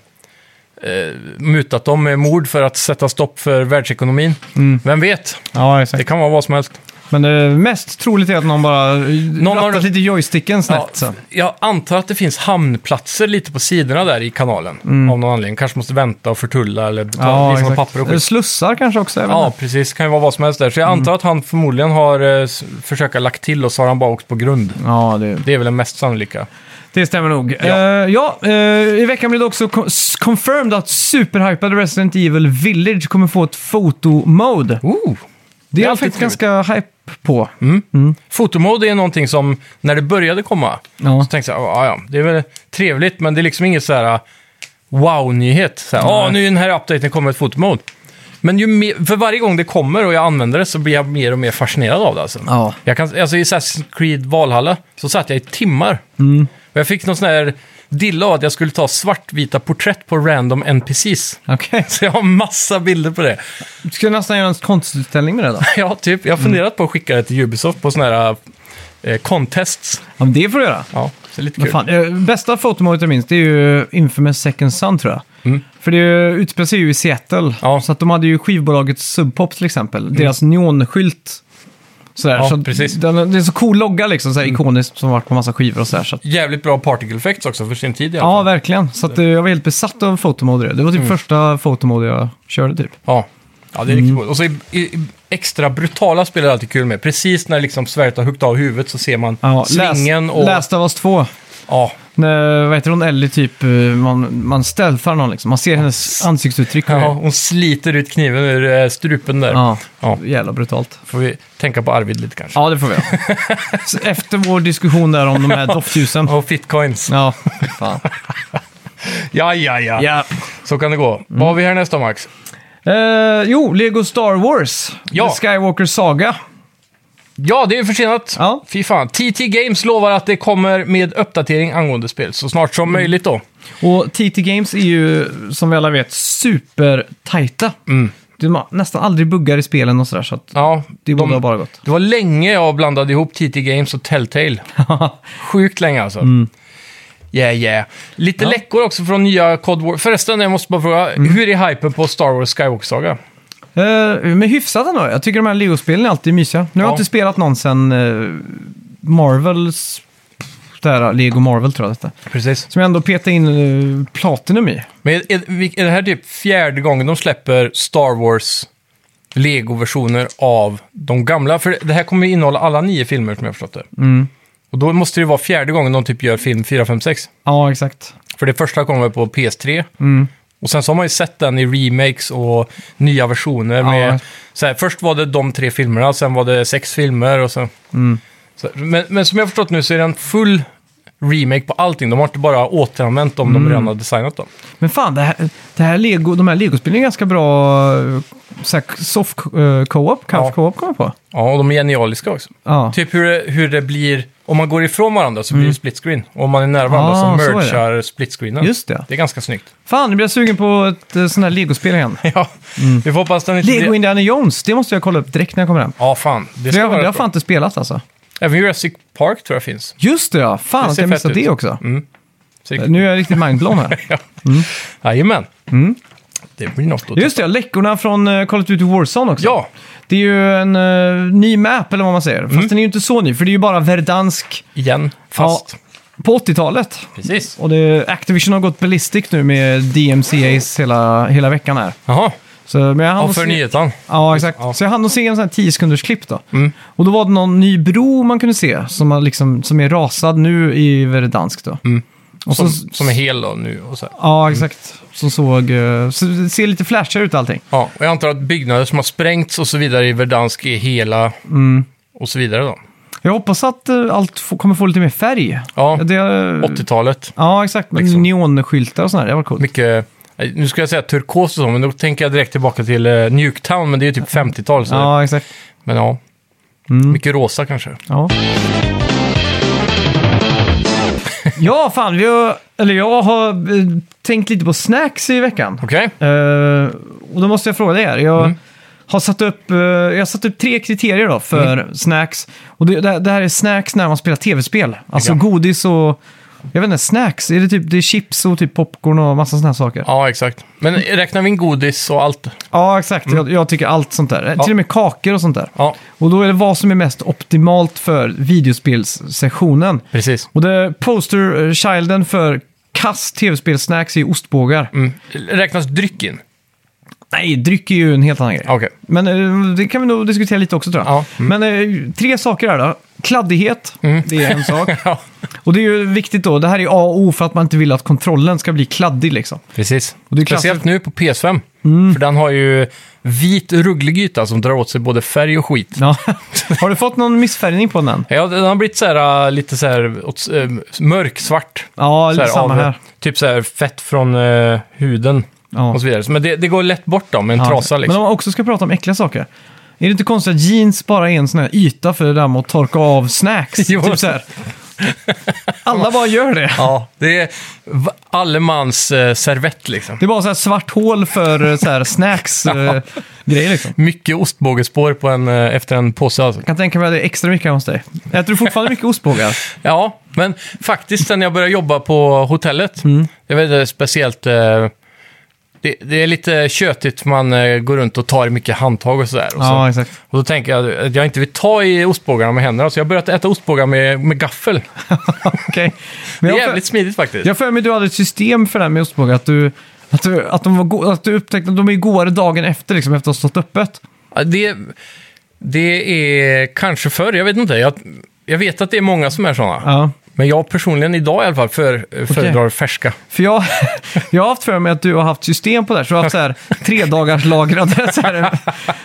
S2: eh, mutat dem med mord för att sätta stopp för världsekonomin.
S1: Mm.
S2: Vem vet?
S1: Ja,
S2: Det
S1: exakt.
S2: kan vara vad som helst.
S1: Men det mest troligt är att någon bara någon rattat
S2: har-
S1: lite joysticken snett. så.
S2: Ja, jag antar att det finns hamnplatser lite på sidorna där i kanalen. Av någon anledning. Kanske måste vänta och förtulla eller betala ja, liksom
S1: Mm. exakt.
S2: papper och
S1: Eller
S2: skit.
S1: Slussar kanske också? Jag vet
S2: Ja,
S1: inte.
S2: precis. Kan ju vara vad som helst där. Så jag antar att han förmodligen har eh, s- försökt lagt till och så har han bara åkt på grund.
S1: ja det,
S2: Det är väl den mest sannolika.
S1: det stämmer nog.
S2: Ja.
S1: Ja, ja eh, i veckan blev det också co- s- confirmed att superhypade Resident Evil Village kommer få ett fotomode.
S2: Ooh.
S1: Det är
S2: är
S1: jag
S2: alltid
S1: faktiskt ganska hype på.
S2: Mm. Fotomode är någonting som, när det började komma,
S1: Ja.
S2: så tänkte jag, "Ah, ja, ja, det är väl trevligt, men det är liksom inget så här wow-nyhet. Så här, Ja, nu i den här updaten kommer ett fotomode. Men ju mer, för varje gång det kommer och jag använder det så blir jag mer och mer fascinerad av det. Alltså.
S1: Ja.
S2: Jag kan, alltså, I Assassin's Creed Valhalla så satt jag i timmar.
S1: Mm.
S2: Och jag fick någon sån här dilla av att jag skulle ta svartvita porträtt på random NPCs.
S1: Okej.
S2: Så jag har massa bilder på det.
S1: Du skulle nästan göra en konstutställning med det då.
S2: Ja, typ. Jag har funderat på att skicka det till Ubisoft på såna här eh, contests.
S1: Ja, men det får du göra.
S2: Ja, så lite
S1: Men
S2: kul.
S1: fan, eh, bästa fotomålet jag minns det är ju Infamous Second Son tror jag. För det är ju- utspelar sig ju i Seattle.
S2: Mm. Ja. Mm.
S1: Så att de hade ju skivbolaget Sub Pop till exempel. Deras neonskylt. Sådär,
S2: Ja,
S1: så
S2: precis. Mm.
S1: Den, det är så cool logga liksom, såhär, ikoniskt som har varit på massa skivor och sådär. Så att,
S2: Jävligt bra particle effects också för sin tid i alla
S1: ja,
S2: fall. Mm.
S1: verkligen. Så att, eh, jag var helt besatt av fotomode. Det Det var typ första fotomode jag körde typ.
S2: Ja. ja, det är
S1: Mm.
S2: riktigt coolt. Och så i, i, i extra brutala spel är det alltid kul med. Precis när liksom svärdet har huggit av huvudet så ser man
S1: Ja,
S2: svingen
S1: läs,
S2: och...
S1: Last of Us 2.
S2: Ja,
S1: När, vad heter hon? Ellie typ, eh, man, man stealthar någon liksom. Man ser hennes ansiktsuttryck. och
S2: ja,
S1: grejer.
S2: hon sliter ut kniven ur eh, strupen där.
S1: ja.
S2: Ja,
S1: Jävla brutalt.
S2: får vi tänka på Arvid lite kanske.
S1: Ja, det får vi göra. Så Efter vår diskussion där om de här doftljusen.
S2: Och fitcoins.
S1: Ja, fan.
S2: Ja, ja, ja,
S1: Ja. Mm.
S2: Så kan det gå. Vad har vi här nästa Max?
S1: Eh, jo, Lego Star Wars.
S2: Ja.
S1: The Skywalker Saga.
S2: Ja, det är ju försenat.
S1: Ja.
S2: Fy fan. TT Games lovar att det kommer med uppdatering angående spel så snart
S1: Mm.
S2: som möjligt då.
S1: Och TT Games är ju, som vi alla vet, supertajta. Mm. Du har nästan aldrig buggar i spelen och sådär, så att
S2: Ja,
S1: det borde
S2: de-
S1: ha bara gått.
S2: Det var länge jag blandade ihop TT Games och Telltale. Sjukt länge alltså. Yeah, yeah. Lite läckor också från nya Cod War. Förresten, jag måste bara fråga. Hur är hypen på Star Wars Skywalker Saga?
S1: Uh, men hyfsat ändå. Jag tycker de här Lego-spelen är alltid mysiga. Nu har
S2: Ja.
S1: jag inte spelat någon sen eh, Marvels... Det här, Lego Marvel tror jag detta.
S2: Precis.
S1: Som jag ändå petade in eh, Platinum i.
S2: Men är, är, är det här typ fjärde gången de släpper Star Wars Lego-versioner av de gamla? För det här kommer ju innehålla alla nio filmer som jag har förstått det. Och då måste det vara fjärde gången de typ gör film 4, 5, 6.
S1: Ja, exakt.
S2: För det första kom väl på PS3.
S1: Mm.
S2: Och sen så har man ju sett den i remakes och nya versioner. Med,
S1: Ja.
S2: så här, först var det de tre filmerna, sen var det sex filmer och så.
S1: Mm.
S2: så men, men som jag har förstått nu så är det en full remake på allting. De har inte bara återanvänt
S1: Mm.
S2: dem de redan har designat dem.
S1: Men fan, det här, det här Lego, de här Lego-spelen är ganska bra eh, så här soft eh, co-op, couch
S2: Ja.
S1: co-op kommer jag på.
S2: Ja, och de är genialiska också.
S1: Ja. Mm.
S2: Typ hur det, hur det blir, om man går ifrån varandra så blir det split screen. Och om man är nära varandra
S1: Ah,
S2: så
S1: så är det.
S2: merchar split screenen.
S1: Just det.
S2: Det är ganska snyggt.
S1: Fan, nu blir jag sugen på ett eh, sånt här Lego-spel igen.
S2: ja,
S1: Mm.
S2: vi får hoppas den inte
S1: Lego
S2: blir-
S1: Indiana Jones, det måste jag kolla upp direkt när jag kommer hem.
S2: Ja, fan. Det
S1: Det
S2: ska
S1: jag,
S2: vara
S1: det har
S2: rätt
S1: fan
S2: bra.
S1: inte spelat alltså.
S2: Även Jurassic Park tror jag finns.
S1: Just det ja, fan
S2: Det
S1: att
S2: ser
S1: jag missat
S2: fett ut.
S1: det också.
S2: Mm. Så det-
S1: Eh, Nu är jag riktigt mindblown här.
S2: Jajamän. Det blir något att
S1: Just det, läckorna från eh, Call of Duty Warzone också.
S2: Ja,
S1: Det är ju en eh, ny map eller vad man säger. Fast
S2: Mm.
S1: den är ju inte så ny, för det är ju bara verdansk
S2: igen. Fast.
S1: på 80-talet.
S2: Precis.
S1: Och det, Activision har gått ballistic nu med DMCA's hela, hela veckan här.
S2: Jaha,
S1: Så, men jag hann
S2: ja,
S1: att
S2: för
S1: se-
S2: nyheten.
S1: Ja, exakt.
S2: Ja. Mm.
S1: Så jag hann att se en sån här 10 sekunders klipp då. Och då var det någon ny bro man kunde se som, har liksom, som är rasad nu i Verdansk då. Och
S2: Mm. Som,
S1: så,
S2: som är hel då nu och så här.
S1: Ja, exakt. Som såg... eh, Så det ser lite flashigare ut allting.
S2: Ja, och jag antar att byggnader som har sprängts och så vidare i Verdansk är hela
S1: Mm.
S2: och så vidare då.
S1: Jag hoppas att eh, allt få- kommer få lite mer färg.
S2: Ja,
S1: det, eh,
S2: 80-talet.
S1: Ja, exakt. Med
S2: liksom.
S1: neonskyltar och sådär. Det var coolt.
S2: Mycket... eh, Nu ska jag säga turkos och så, men då tänker jag direkt tillbaka till eh, Nuketown, men det är ju typ 50-tal. Så
S1: Ja, Mm. exakt.
S2: Men ja, mycket rosa kanske.
S1: Ja. ja, fan. Vi har, eller jag har eh, tänkt lite på snacks i veckan.
S2: Okej? Mm.
S1: Eh, och då måste jag fråga dig här. Jag har satt upp, eh, jag har satt upp tre kriterier då för
S2: Mm.
S1: snacks. Och det, det, det här är snacks när man spelar tv-spel. Alltså
S2: Ja.
S1: godis och... Jag vet inte, snacks? Är det typ det är chips och typ popcorn och massa sådana här saker? Ja,
S2: Ja, exakt. Men räknar vi in godis och allt?
S1: exakt. Jag, jag tycker allt sånt där.
S2: Mm. Ja.
S1: Till och med kakor och sånt där.
S2: Ja,
S1: Och då är det vad som är mest optimalt för videospelssessionen.
S2: precis.
S1: Och det posterchilden för kass tv-spelssnacks är ostbågar.
S2: Mm. Räknas dryck in?
S1: Nej, dryck är ju en helt annan grej.
S2: Ja, Okej.
S1: Men eh, det kan vi nog diskutera lite också tror jag.
S2: Ja, Mm.
S1: Men eh, tre saker här då. Kladdighet, det är en sak.
S2: Ja,
S1: Och det är ju viktigt då. Det här är A och O för att man inte vill att kontrollen ska bli kladdig liksom.
S2: precis.
S1: Och det är klassiskt- Mm.
S2: Speciellt nu på PS5. För den har ju vit rugglig yta som drar åt sig både färg och skit.
S1: Ja. Har du fått någon missfärgning på den än?
S2: Ja, den har blivit så här, äh, lite så här åt, äh, mörksvart.
S1: Ja,
S2: så
S1: lite samma
S2: av,
S1: här.
S2: Typ så här fett från äh, huden
S1: Ja.
S2: och så vidare. Men det, det går lätt bort då med en
S1: Ja.
S2: trasa liksom.
S1: Men om man också ska prata om äckliga saker. Är det inte konstigt att jeans bara är en sån här yta för det där med att torka av snacks?
S2: Jo.
S1: Typ så här. Alla bara gör det.
S2: Ja, det är v- allemans äh, servett liksom.
S1: Det är bara så här svart hål för eh, så här snacks-grejer liksom.
S2: Mycket ostbågespår på en, äh, efter en påse alltså.
S1: Jag kan tänka mig att det är extra mycket hemma hos dig. Äter du fortfarande mycket ostbågar?
S2: Ja, men faktiskt sen jag började jobba på hotellet,
S1: Mm.
S2: det var väldigt speciellt. eh, Det, det är lite tjötigt, man eh, går runt och tar i mycket handtag och sådär. Och, så.
S1: exakt.
S2: och då tänker jag att jag inte vill ta i ostbågarna med händerna, så jag har börjat äta ostbågar med, med gaffel.
S1: Okej.
S2: Det
S1: Men
S2: är
S1: jag har
S2: jävligt
S1: för-
S2: smidigt faktiskt.
S1: jag har för mig att du hade ett system för det här med ostbågar. Att du, att du, att de var go- att du upptäckte att de är godare dagen efter, liksom, efter att ha stått öppet.
S2: Ja, Det, det är kanske förr, jag vet inte. Jag, jag vet att det är många som är sådana.
S1: Ja.
S2: Men jag personligen idag i alla fall för, föredrar färska.
S1: För jag, jag har haft för mig att du har haft system på det här. Så du har haft så här, tre dagars lagrade. Så, här,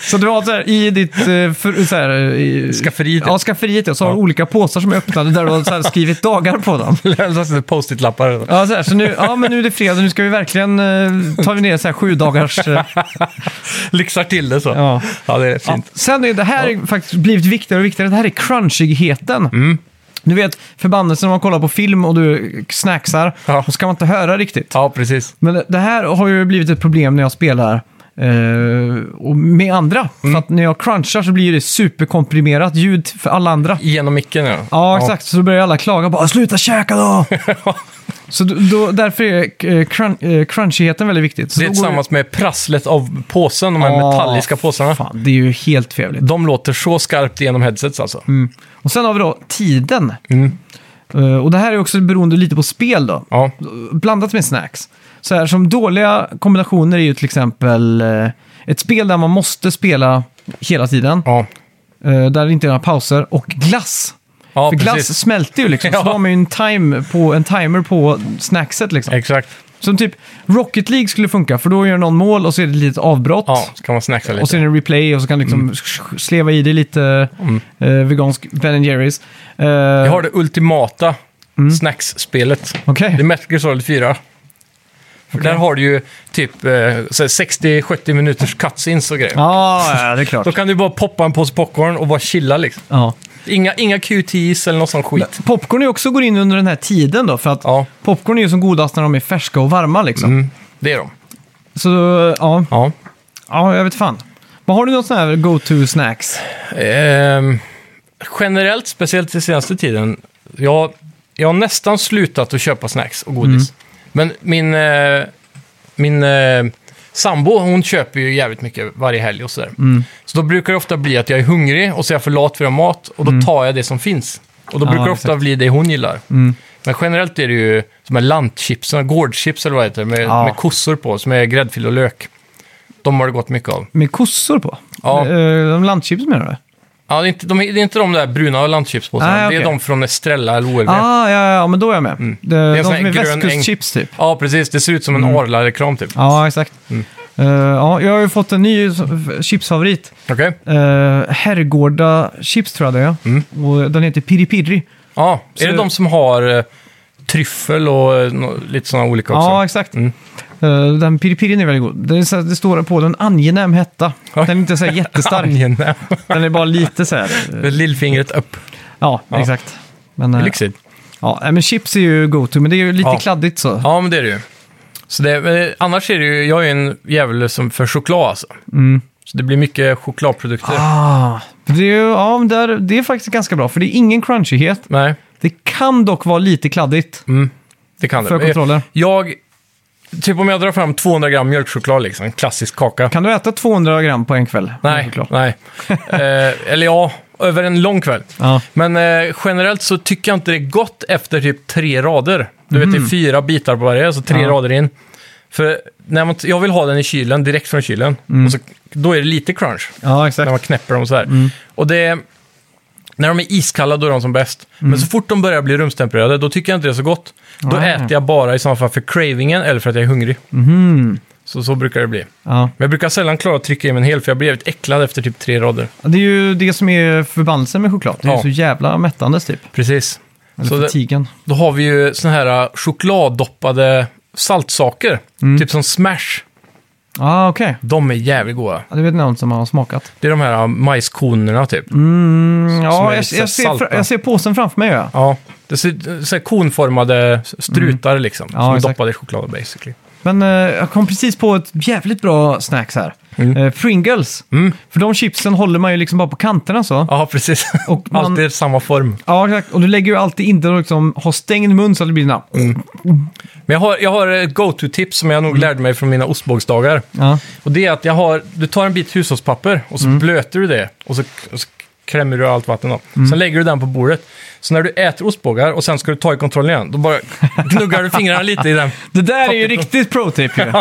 S1: så du har så här, i ditt... eh, För, så här, i,
S2: Skafferiet.
S1: Ja, skafferiet. ja. Så har du olika påsar som är öppnade där du har så här, skrivit dagar på dem.
S2: Lämnar post-it-lappar.
S1: Ja, så här, så nu, ja, men nu är det fredag, nu ska vi verkligen eh, ta vi ner så här sju dagars... Eh,
S2: Lyxar till det så.
S1: ja.
S2: Ja, det är fint.
S1: ja. Sen är det här är faktiskt blivit viktigare och viktigare, det här är crunchigheten.
S2: Mm.
S1: Du vet förbannelsen när man kollar på film och du snacksar,
S2: Ja.
S1: och så kan man inte höra riktigt.
S2: Ja, precis.
S1: Men det- det här har ju blivit ett problem när jag spelar eh, och med andra.
S2: Mm.
S1: För att när jag crunchar så blir det superkomprimerat ljud för alla andra.
S2: Genom micken, ja.
S1: Ja, exakt. Så då börjar alla klaga bara “sluta käka då!” Så då, då, därför är eh, crun, eh, crunchigheten väldigt viktigt. Så
S2: Det är
S1: då går
S2: tillsammans med prasslet av påsen, de här
S1: Ja,
S2: metalliska påsarna.
S1: Fan, det är ju helt förjävligt.
S2: De låter så skarpt genom headsets alltså.
S1: Mm. Och sen har vi då tiden.
S2: Mm.
S1: Eh, och det här är också beroende lite på spel då.
S2: Ja.
S1: Blandat med snacks. Så här som dåliga kombinationer är ju till exempel eh, ett spel där man måste spela hela tiden.
S2: Ja.
S1: Eh, där det inte är några pauser. Och glass.
S2: ja,
S1: För glass
S2: precis.
S1: smälter ju liksom.
S2: Ja.
S1: Så då har man ju en, time på, en timer på snackset liksom.
S2: Exakt.
S1: Som typ Rocket League skulle funka, för då gör någon mål och så är det ett litet avbrott.
S2: Ja, Mm. så kan man snacksa lite.
S1: Och sen är det replay och så kan liksom sh- sleva i det lite eh, vegansk Ben Jerrys. Eh,
S2: Mm. Jag
S1: Mm.
S2: har det ultimata snacksspelet.
S1: Okej.
S2: Det är Metal Gear Solid 4. För där har du ju typ eh, så här 60-70 minuters cutscenes och grejer.
S1: Ja, Ah, ja, det är klart.
S2: Då kan du bara poppa en påse popcorn och bara chilla liksom.
S1: Ja.
S2: Inga, inga QTs eller något sånt skit.
S1: Popcorn är också går in under den här tiden då, för att
S2: Ja.
S1: popcorn är ju som godast när de är färska och varma liksom.
S2: Mm, det är de.
S1: Så ja,
S2: Ja.
S1: ja, jag vet fan. Men har du någon sån här go-to-snacks?
S2: Ehm, generellt, speciellt den senaste tiden, jag, jag har nästan slutat att köpa snacks och godis.
S1: Mm.
S2: Men min, eh, min eh, sambo, hon köper ju jävligt mycket varje helg och sådär.
S1: Mm.
S2: Så då brukar det ofta bli att jag är hungrig och så är jag för lat för att göra mat och då tar jag det som finns. Och
S1: Mm.
S2: då
S1: Ja,
S2: brukar det ofta
S1: exakt. Mm.
S2: bli det hon gillar. Men generellt är det ju de här lantchipsen, gårdchips eller vad det heter, med,
S1: Ja.
S2: med kossor på, som är gräddfil och lök. De har det gått mycket av.
S1: Med kossor på?
S2: Ja.
S1: Eh, de landchips menar du?
S2: Ja, det är inte de, det är inte de där bruna lantchipspåsarna.
S1: Nej,
S2: Det är
S1: okej.
S2: de från Estrella eller OLW.
S1: Ah, ja, ja, ja, men då är jag med. Det,
S2: Mm. en
S1: de
S2: sån här
S1: som är
S2: grön
S1: västkustchips typ.
S2: Ja, precis. Det ser ut som en Arla-reklam typ.
S1: Mm. Ja, exakt. Eh, ja, jag har ju fått en ny s- f- chipsfavorit.
S2: Okej?
S1: Uh, Herrgårda chips tror jag det är.
S2: Mm.
S1: Och den heter Piri Piri.
S2: Ja,
S1: Så-
S2: är det de som har eh, tryffel och eh, nå- lite sådana olika också?
S1: Ja, exakt.
S2: Mm.
S1: Eh, den Piri Pirin är väldigt god. Det, är så här, det står på den angenäm hetta. Den är inte så här jättestark.
S2: Angenäm.
S1: den är bara lite så här. eh,
S2: Med Lillfingret upp.
S1: Ja,
S2: Ja.
S1: exakt. Men,
S2: Det är
S1: eh,
S2: lyxigt.
S1: ja, nej, men chips är ju go-to, men det är ju lite
S2: Ja.
S1: kladdigt så.
S2: Ja, men det är det ju. Så det, men annars är det ju, jag är ju en djävul som för choklad alltså. Så det blir mycket chokladprodukter.
S1: Mm. Ah, för det, är ju, ja, men där, det är faktiskt ganska bra, för det är ingen crunchighet.
S2: Nej,
S1: Det kan dock vara lite kladdigt
S2: Mm, det kan
S1: för
S2: det. Men
S1: kontroller.
S2: Jag, typ om jag drar fram 200 gram mjölkchoklad liksom, klassisk kaka.
S1: Kan du äta 200 gram på en kväll?
S2: Nej,
S1: Såklart.
S2: nej. eh, eller ja, över en lång kväll.
S1: Ja.
S2: Men eh, generellt så tycker jag inte det är gott efter typ tre rader. Du vet, det är fyra bitar på varje, så tre
S1: Mm. Ja.
S2: rader in. För när man, jag vill ha den i kylen, direkt från kylen.
S1: Mm.
S2: Och så, då är det lite crunch,
S1: ja,
S2: när man
S1: exakt.
S2: knäpper dem så här.
S1: Mm.
S2: Och det... När de är iskalla då är de som bäst.
S1: Mm.
S2: Men så fort de börjar bli rumstempererade, då tycker jag inte det är så gott. Då
S1: Nej.
S2: äter jag bara i sådana fall för cravingen eller för att jag är hungrig.
S1: Mhm.
S2: Så så brukar det bli.
S1: Ja.
S2: Men jag brukar sällan klara att trycka i mig en hel, för jag blir jävligt äcklad efter typ tre rader.
S1: Det är ju det som är förbannelsen med choklad. Det är ju
S2: Ja.
S1: så jävla mättande typ.
S2: Precis.
S1: Eller
S2: Så det-
S1: förtigen.
S2: Då har vi ju såna här äh, chokladdoppade saltsaker. Typ som Smash.
S1: Ja, ah, okej.
S2: De är jävligt goda.
S1: Ja, det vet någon som har smakat.
S2: Det är de här majskornorna typ.
S1: Mm,
S2: Som är
S1: ja, jag,
S2: lite
S1: jag, ser,
S2: salta.
S1: fra- jag ser påsen framför mig. Ja.
S2: Ja, det ser så här konformade strutar liksom.
S1: Ja,
S2: som är
S1: exakt.
S2: doppade i choklad basically.
S1: Men eh, jag kom precis på ett jävligt bra snacks här.
S2: Mm.
S1: Eh, Pringles. För de chipsen håller man ju liksom bara på kanterna så.
S2: Ja, precis.
S1: Och man-
S2: Alltid samma form.
S1: Ja, exakt. Och du lägger ju alltid inte och liksom har stängd mun så att det blir den här-
S2: Mm. Men jag har, jag har ett go-to-tips som jag nog lärde mig från mina ostbågsdagar.
S1: Ja.
S2: Och det är att jag har, du tar en bit hushållspapper och
S1: Mm.
S2: så blöter du det och så, och så krämmer du allt vatten av.
S1: Mm.
S2: Sen lägger du den på bordet. Så när du äter ostbågar och sen ska du ta i kontrollen igen, då bara gnuggar du fingrarna lite i den.
S1: Det där är ju
S2: Fattigt.
S1: riktigt pro-tip ju. Det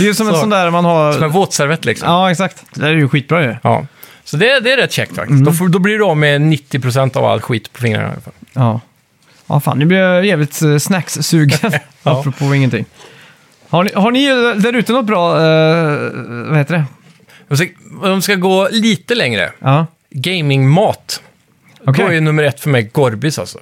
S1: är ju som en
S2: Så.
S1: sån där man har...
S2: Som en våtservett liksom.
S1: Ja, exakt. Det där är ju skitbra ju.
S2: Ja. Så det, det är rätt käckt
S1: Mm.
S2: faktiskt. Då, får, då blir du av med 90% av all skit på fingrarna i alla fall.
S1: Ja. Ja, fan, nu blir jag jävligt eh, snackssugen.
S2: Ja.
S1: Apropå ingenting. Har ni, har ni eh, där ute något bra, eh, vad heter det?
S2: Om vi ska- Om vi ska gå lite längre,
S1: Ja.
S2: gamingmat.
S1: Okej.
S2: Då är ju nummer ett för mig Gorbis alltså.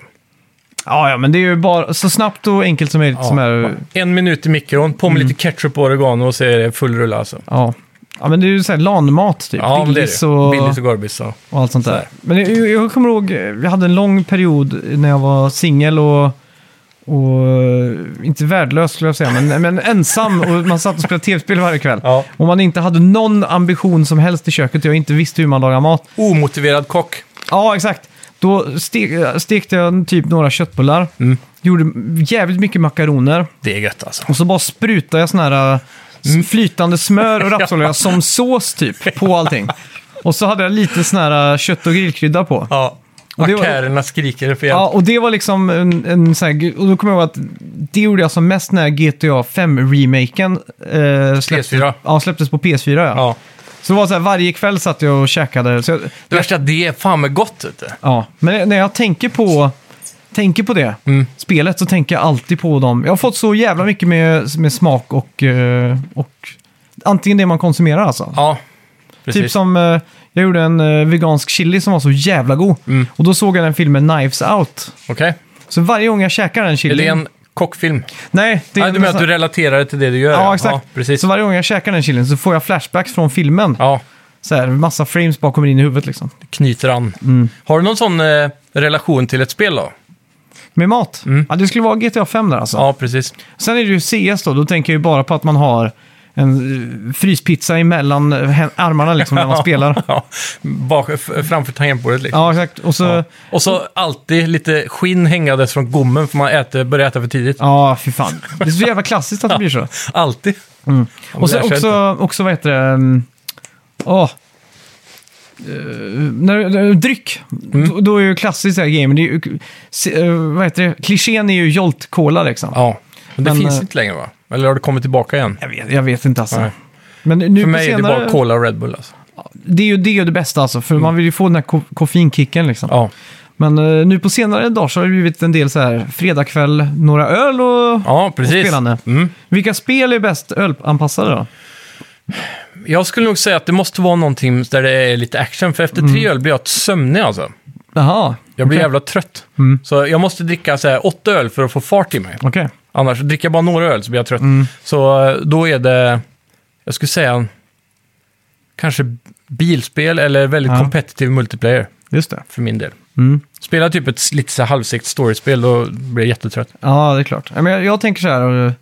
S1: ja, ja, men det är ju bara så snabbt och enkelt som möjligt som är... Mm.
S2: En minut i mikron, på med lite ketchup och oregano och så är det full rulle alltså.
S1: Ja. ja, men det är ju såhär LAN-mat typ.
S2: Ja, men det
S1: Billys
S2: är det.
S1: och,
S2: Billis och Gorbis. Ja.
S1: och allt sånt där. Men jag, jag kommer ihåg, eh, jag hade en lång period när jag var singel och... Och eh, inte värdelös skulle jag säga, men, men ensam och man satt och spelade tv-spel varje kväll.
S2: Ja.
S1: Om man inte hade någon ambition som helst i köket och jag inte visste hur man lagar mat.
S2: Omotiverad kock.
S1: Ja, exakt. Då ste stekte jag typ några köttbullar.
S2: Mm.
S1: Gjorde jävligt mycket makaroner.
S2: Det är gött alltså.
S1: Och så bara sprutade jag sån här äh, flytande smör och rapsolja som sås typ på allting. Och så hade jag lite sån här äh, kött och grillkrydda på.
S2: Ja.
S1: Och det var-
S2: Akärerna skriker för hjälp.
S1: Ja, och det var liksom en, en sån här, och då kommer jag ihåg att det gjorde jag som mest när GTA 5-remaken eh, släpptes,
S2: PS4.
S1: ja, släpptes på PS4. Ja.
S2: Ja.
S1: Så det var så här, varje kväll satt jag och käkade. Så jag,
S2: Det värsta är att det är fan med gott. Vet du.
S1: Ja, men när jag tänker på, tänker på det
S2: Mm.
S1: spelet så tänker jag alltid på dem. Jag har fått så jävla mycket med, med smak och, eh, och antingen det man konsumerar alltså.
S2: Ja, precis.
S1: typ som eh, jag gjorde en eh, vegansk chili som var så
S2: Mm.
S1: jävla god. Och då såg jag den filmen Knives Out.
S2: Okej.
S1: Så varje gång jag käkar den
S2: Är det
S1: chilin...
S2: en kockfilm.
S1: Nej, det
S2: Nej, du menar att du relaterar det till det du gör?
S1: Ja, exakt.
S2: precis.
S1: Så varje gång jag käkar den chilin så får jag flashbacks från filmen.
S2: Ja,
S1: Så här, massa frames bara kommer in i huvudet liksom.
S2: det knyter an.
S1: Mm.
S2: Har du någon sån eh, relation till ett spel då?
S1: Med mat?
S2: Mm.
S1: Ja, det skulle vara GTA 5 där alltså.
S2: Ja, precis.
S1: Sen är det ju CS då, då tänker jag ju bara på att man har en eh, fryspizza emellan eh, hän- armarna liksom när man spelar.
S2: Ja, bak, f- framför tangentbordet liksom.
S1: Ja, exakt. Och så... Ja,
S2: Och så alltid lite skinn hängandes från gommen för man äter, börjar äta för tidigt.
S1: fy fan. Det är så jävla klassiskt att det blir så.
S2: Alltid. Ja, men
S1: Mm. Och sen
S2: det här kör
S1: också, också, vad heter det? mm, Åh. Eh, när, när, dryck.
S2: Mm.
S1: Då, då är ju klassiskt det här gamen. Det är ju, se- eh, vad heter det? Klichén är ju Jolt Cola liksom.
S2: Ja, men det
S1: Men,
S2: finns
S1: eh,
S2: inte längre va? Eller har det kommit tillbaka igen?
S1: Jag, vet, jag vet inte alltså.
S2: Nej.
S1: Men nu
S2: För
S1: på
S2: mig
S1: senare,
S2: är det bara Mm. Cola och Red Bull alltså.
S1: det är ju det, är ju det bästa alltså. För man vill ju få den här ko koffeinkicken liksom.
S2: Ja,
S1: Men eh, nu på senare dagar så har det blivit en del så här fredagkväll, några öl och...
S2: ja precis.
S1: spelande.
S2: Mm.
S1: Vilka spel är bäst ölanpassade då?
S2: Jag skulle nog säga att det måste vara någonting där det är lite action, för efter tre öl blir jag sömnig alltså.
S1: Jaha,
S2: Jag
S1: Mm. Okej. Mm.
S2: blir jävla trött. Så jag måste dricka så här, åtta öl för att få fart i mig.
S1: okej.
S2: Annars, dricker jag bara några öl så blir jag trött.
S1: Mm.
S2: Så eh, då är det, jag skulle säga, kanske bilspel eller väldigt
S1: Ja.
S2: competitive multiplayer
S1: Just det.
S2: för min del.
S1: Mm.
S2: Spela typ ett s- lite så här halvsegt storyspel, då blir jag jättetrött.
S1: Ja, det är klart. Ja, Men jag, jag tänker så här, eh,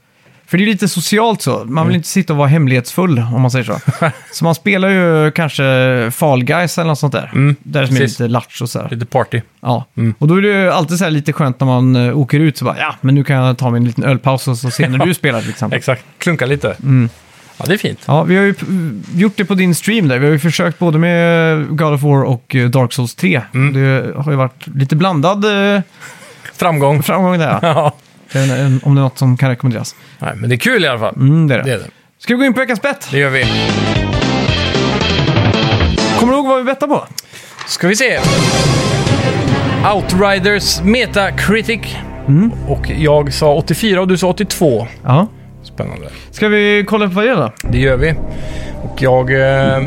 S1: för det är lite socialt så. Man vill inte sitta och vara hemlighetsfull, om man säger så. så man spelar ju kanske Fall Guys eller något sånt där.
S2: Mm,
S1: Där som är
S2: precis.
S1: lite latch och så här.
S2: Lite party.
S1: Ja. Och då är det ju alltid så här lite skönt när man eh, åker ut så bara, ja, men nu kan jag ta mig en liten ölpaus och så se när du spelar till exempel.
S2: Exakt, Mm. klunka lite. Ja, det är fint.
S1: Ja, vi har ju p- gjort det på din stream där. Vi har ju försökt både med God of War och eh, Dark Souls 3.
S2: Mm.
S1: Det har ju varit lite blandad eh,
S2: Framgång.
S1: framgång där. ja.
S2: ja.
S1: Jag vet inte eh, Om det är något som kan rekommenderas.
S2: Nej, men det är kul i alla fall.
S1: Mm, det är det.
S2: Det är det.
S1: Ska vi gå in på veckans bett?
S2: Det gör vi.
S1: Kommer du ihåg vad vi bettade på?
S2: Ska vi se. Outriders Metacritic. Och jag sa 84 och du sa 82.
S1: Ja.
S2: Spännande.
S1: Ska vi kolla upp vad det är då?
S2: Det gör vi. Och jag... Eh,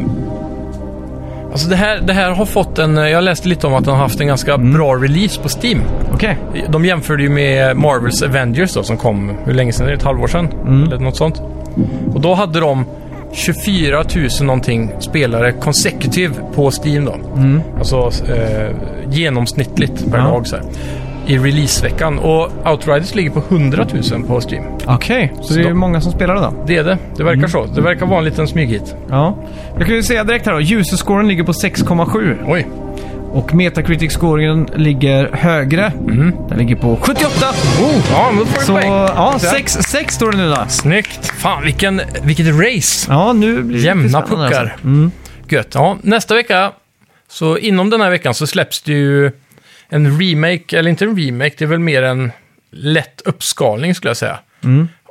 S2: alltså det här, det här har fått en... eh, Jag läste lite om att den har haft en ganska bra release på Steam.
S1: Okej.
S2: De jämförde ju med Marvels Avengers då, som kom, hur länge sedan är det? Ett halvår sedan?
S1: Mm.
S2: Eller något sånt. Och då hade de 24 000 någonting spelare consecutive på Steam då. Alltså eh, genomsnittligt per
S1: Mm. Ja.
S2: dag så här. I releaseveckan. Och Outriders ligger på 100 000 på Steam.
S1: Okej, så det är ju
S2: Stopp.
S1: många som spelar det då.
S2: Det är det. Det verkar
S1: Mm.
S2: så. Det verkar vara en liten smyghit.
S1: Ja. Jag kan ju säga direkt här då. User-scoren ligger på 6,7
S2: Oj.
S1: och Metacritic-scoren ligger högre. Den ligger på 78.
S2: Mm. Oh, ja, men då får du
S1: Så
S2: poäng.
S1: ja,
S2: Där.
S1: 6, 6 står det nu då.
S2: Snyggt! Fan, vilken, vilket race!
S1: Ja, nu blir det
S2: Jämna
S1: lite spännande,
S2: puckar.
S1: Alltså.
S2: Gött. Ja, nästa vecka, så inom den här veckan så släpps det ju en remake, eller inte en remake, det är väl mer en lätt uppskalning skulle jag säga,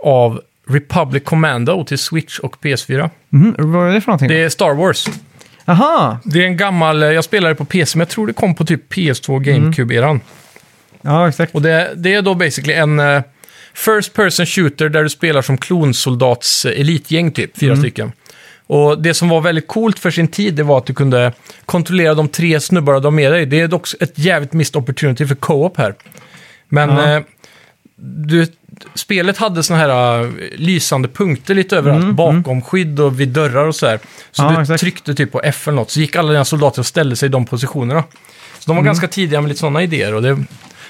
S2: av Republic Commando till Switch och PS4.
S1: Mhm, Vad är det för någonting?
S2: Det är Star Wars.
S1: Aha!
S2: Det är en gammal, jag spelade på PC, men jag tror det kom på typ PS2 GameCube-eran.
S1: Ja, exakt.
S2: Och det, det är då basically en eh, first person shooter där du spelar som klonsoldats eh, elitgäng typ, fyra stycken. Och det som var väldigt coolt för sin tid, det var att du kunde kontrollera de tre snubbarna du har med dig. Det är dock ett jävligt missed opportunity för co-op här. Men
S1: Ja.
S2: eh, du, spelet hade såna här eh, lysande punkter lite överallt, bakom skydd och vid dörrar och så här. Så
S1: Mm, Ja,
S2: du
S1: exakt.
S2: tryckte typ på F eller något, så gick alla dina soldater och ställde sig i de positionerna. Så
S1: Mm.
S2: de var ganska tidiga med lite sådana idéer och det är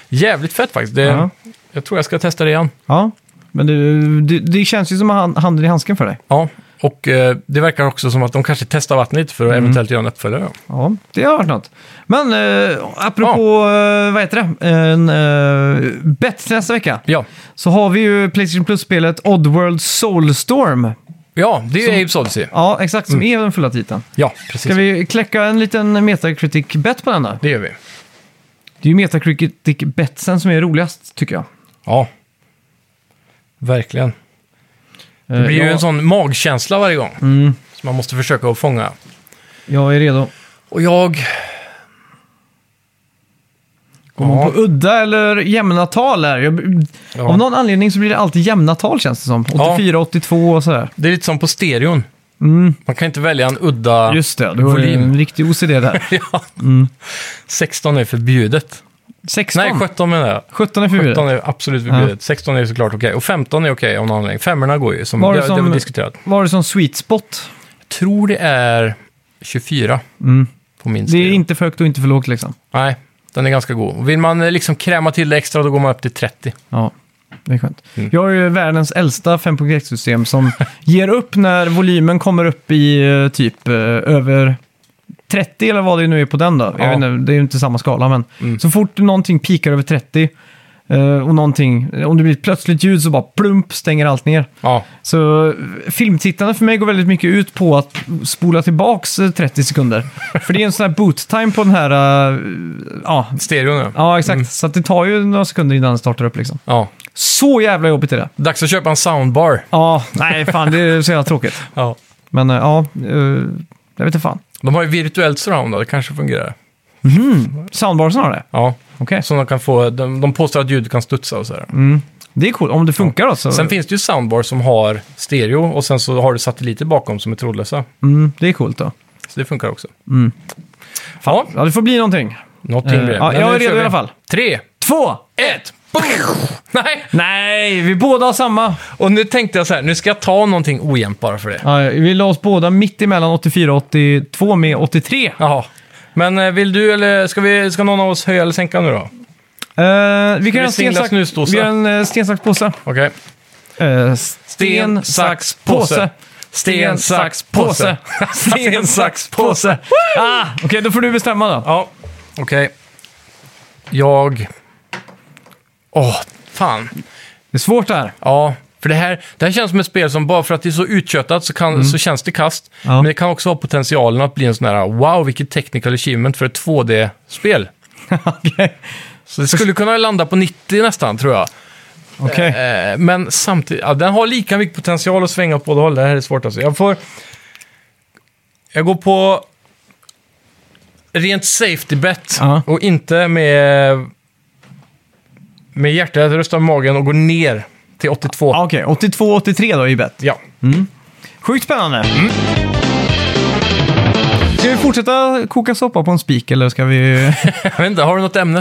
S2: jävligt fett faktiskt. Det,
S1: Ja.
S2: Jag tror jag ska testa det igen.
S1: Ja, men det, det, det känns ju som han- handen i handsken för dig.
S2: Ja, och eh, det verkar också som att de kanske testar vattnet för att
S1: Mm.
S2: eventuellt göra en uppföljare. då.
S1: Ja, det har varit något. Men eh, apropå, eh, vad heter det, en eh, bett till nästa vecka.
S2: Ja.
S1: Så har vi ju Playstation Plus-spelet Oddworld Soulstorm.
S2: ja, det är ju Apes Odyssey.
S1: Ja, exakt, som är den fulla titeln.
S2: Ja, Mm. precis.
S1: Ska vi kläcka en liten Metacritic-bet på den då?
S2: Det gör vi.
S1: Det är ju Metacritic-betsen som är roligast, tycker jag.
S2: Ja, verkligen.
S1: Det
S2: Det blir
S1: jag,
S2: ju en sån magkänsla varje gång
S1: Mm.
S2: som man måste försöka att fånga.
S1: Jag är redo.
S2: Och jag...
S1: Går man på udda eller jämna tal här? Jag,
S2: Ja.
S1: Av någon anledning så blir det alltid jämna tal känns det som. 84, 82 och sådär.
S2: Det är lite som på stereon.
S1: Mm.
S2: Man kan inte välja en udda...
S1: Just det, Mm. du har ju
S2: volym.
S1: en riktig OCD där.
S2: ja. 16 är förbjudet.
S1: 16?
S2: Nej, 17 menar jag.
S1: 17 är förbjudet.
S2: 17 är absolut förbjudet. 16 är såklart okej. Och 15 är okej av någon anledning. Femmorna går ju, som,
S1: Var
S2: det,
S1: det
S2: det har
S1: som-
S2: vi diskuterat.
S1: Vad har du som sweet spot?
S2: Jag tror det är 24
S1: Mm.
S2: på min
S1: Det
S2: skriva.
S1: är inte för högt och inte för lågt liksom.
S2: Nej, den är ganska god. Och Vill man eh, liksom kräma till det extra, då går man upp till 30.
S1: Ja, det är skönt.
S2: Mm.
S1: Jag har ju världens äldsta 5.1-system som ger upp när volymen kommer upp i eh, typ eh, över 30 eller vad det nu är på den då. Jag
S2: Ja.
S1: vet inte, det är ju inte samma skala men.
S2: Mm.
S1: Så fort någonting pikar över 30 eh, och någonting, om det blir ett plötsligt ljud så bara plump stänger allt ner.
S2: Ja,
S1: Så eh, filmtittande för mig går väldigt mycket ut på att spola tillbaks eh, 30 sekunder. för det är en sån här boot time på den här, eh, ja,
S2: stereo nu.
S1: ja exakt. Så att det tar ju några sekunder innan den startar upp liksom.
S2: Ja.
S1: Så jävla jobbigt är det.
S2: Dags att köpa en soundbar.
S1: Ja, nej fan det är så jävla tråkigt.
S2: Ja.
S1: Men eh, ja, eh, jag vet inte fan.
S2: De har ju virtuellt surround, då. det kanske fungerar.
S1: Soundbarsen har det?
S2: Ja,
S1: Okej.
S2: så de kan få... De, de påstår att ljudet kan studsa och sådär.
S1: Mm. Det är coolt, om det funkar då så.
S2: Sen finns det ju soundbar som har stereo och sen så har du satelliter bakom som är trådlösa.
S1: Mm, det är coolt då.
S2: Så det funkar också. Mm. Ja,
S1: Ja, det får bli någonting.
S2: någonting
S1: Eh,
S2: blir det.
S1: ja,
S2: Men
S1: jag
S2: nu
S1: är redo
S2: kör
S1: i
S2: vi.
S1: alla fall.
S2: Tre,
S1: Två!
S2: ett, Nej!
S1: Nej, vi båda har samma.
S2: Och nu tänkte jag så här, nu ska jag ta någonting ojämnt bara för det.
S1: Ja, vi la oss båda mitt emellan 84 och 82 med Eh, 83.
S2: Jaha. Men eh, vill du eller ska, vi, ska någon av oss höja eller sänka nu då?
S1: Eh, vi kan göra en
S2: singla
S1: stensax...
S2: snusdosa?
S1: Vi gör en eh, sten, sax, påse.
S2: Okej.
S1: Eh, sten, sax, påse.
S2: Sten, sax, påse.
S1: Sten, sax, påse. Ah, Okej, då får du bestämma då.
S2: Ja, okej. Jag... Åh, fan.
S1: Det är svårt det här.
S2: Ja, för det här, det här känns som ett spel som bara för att det är så utköttat så, kan, så känns det kast.
S1: Ja.
S2: Men det kan också ha potentialen att bli en sån här wow, vilket technical achievement för ett 2D-spel.
S1: Okej.
S2: Så det skulle kunna landa på 90 nästan, tror jag.
S1: Okej.
S2: Eh, men samtidigt, ja, den har lika mycket potential att svänga åt båda håll. Det här är svårt alltså. Jag får... Jag går på rent safety bet
S1: Ja.
S2: och inte med, med hjärtat, röstar med magen och går ner till 82.
S1: Ja, Ah, Okej, 82-83 då i bett.
S2: Ja.
S1: Sjukt spännande. Ska vi fortsätta koka soppa på en spik eller ska vi...
S2: Jag vet inte, har du något ämne?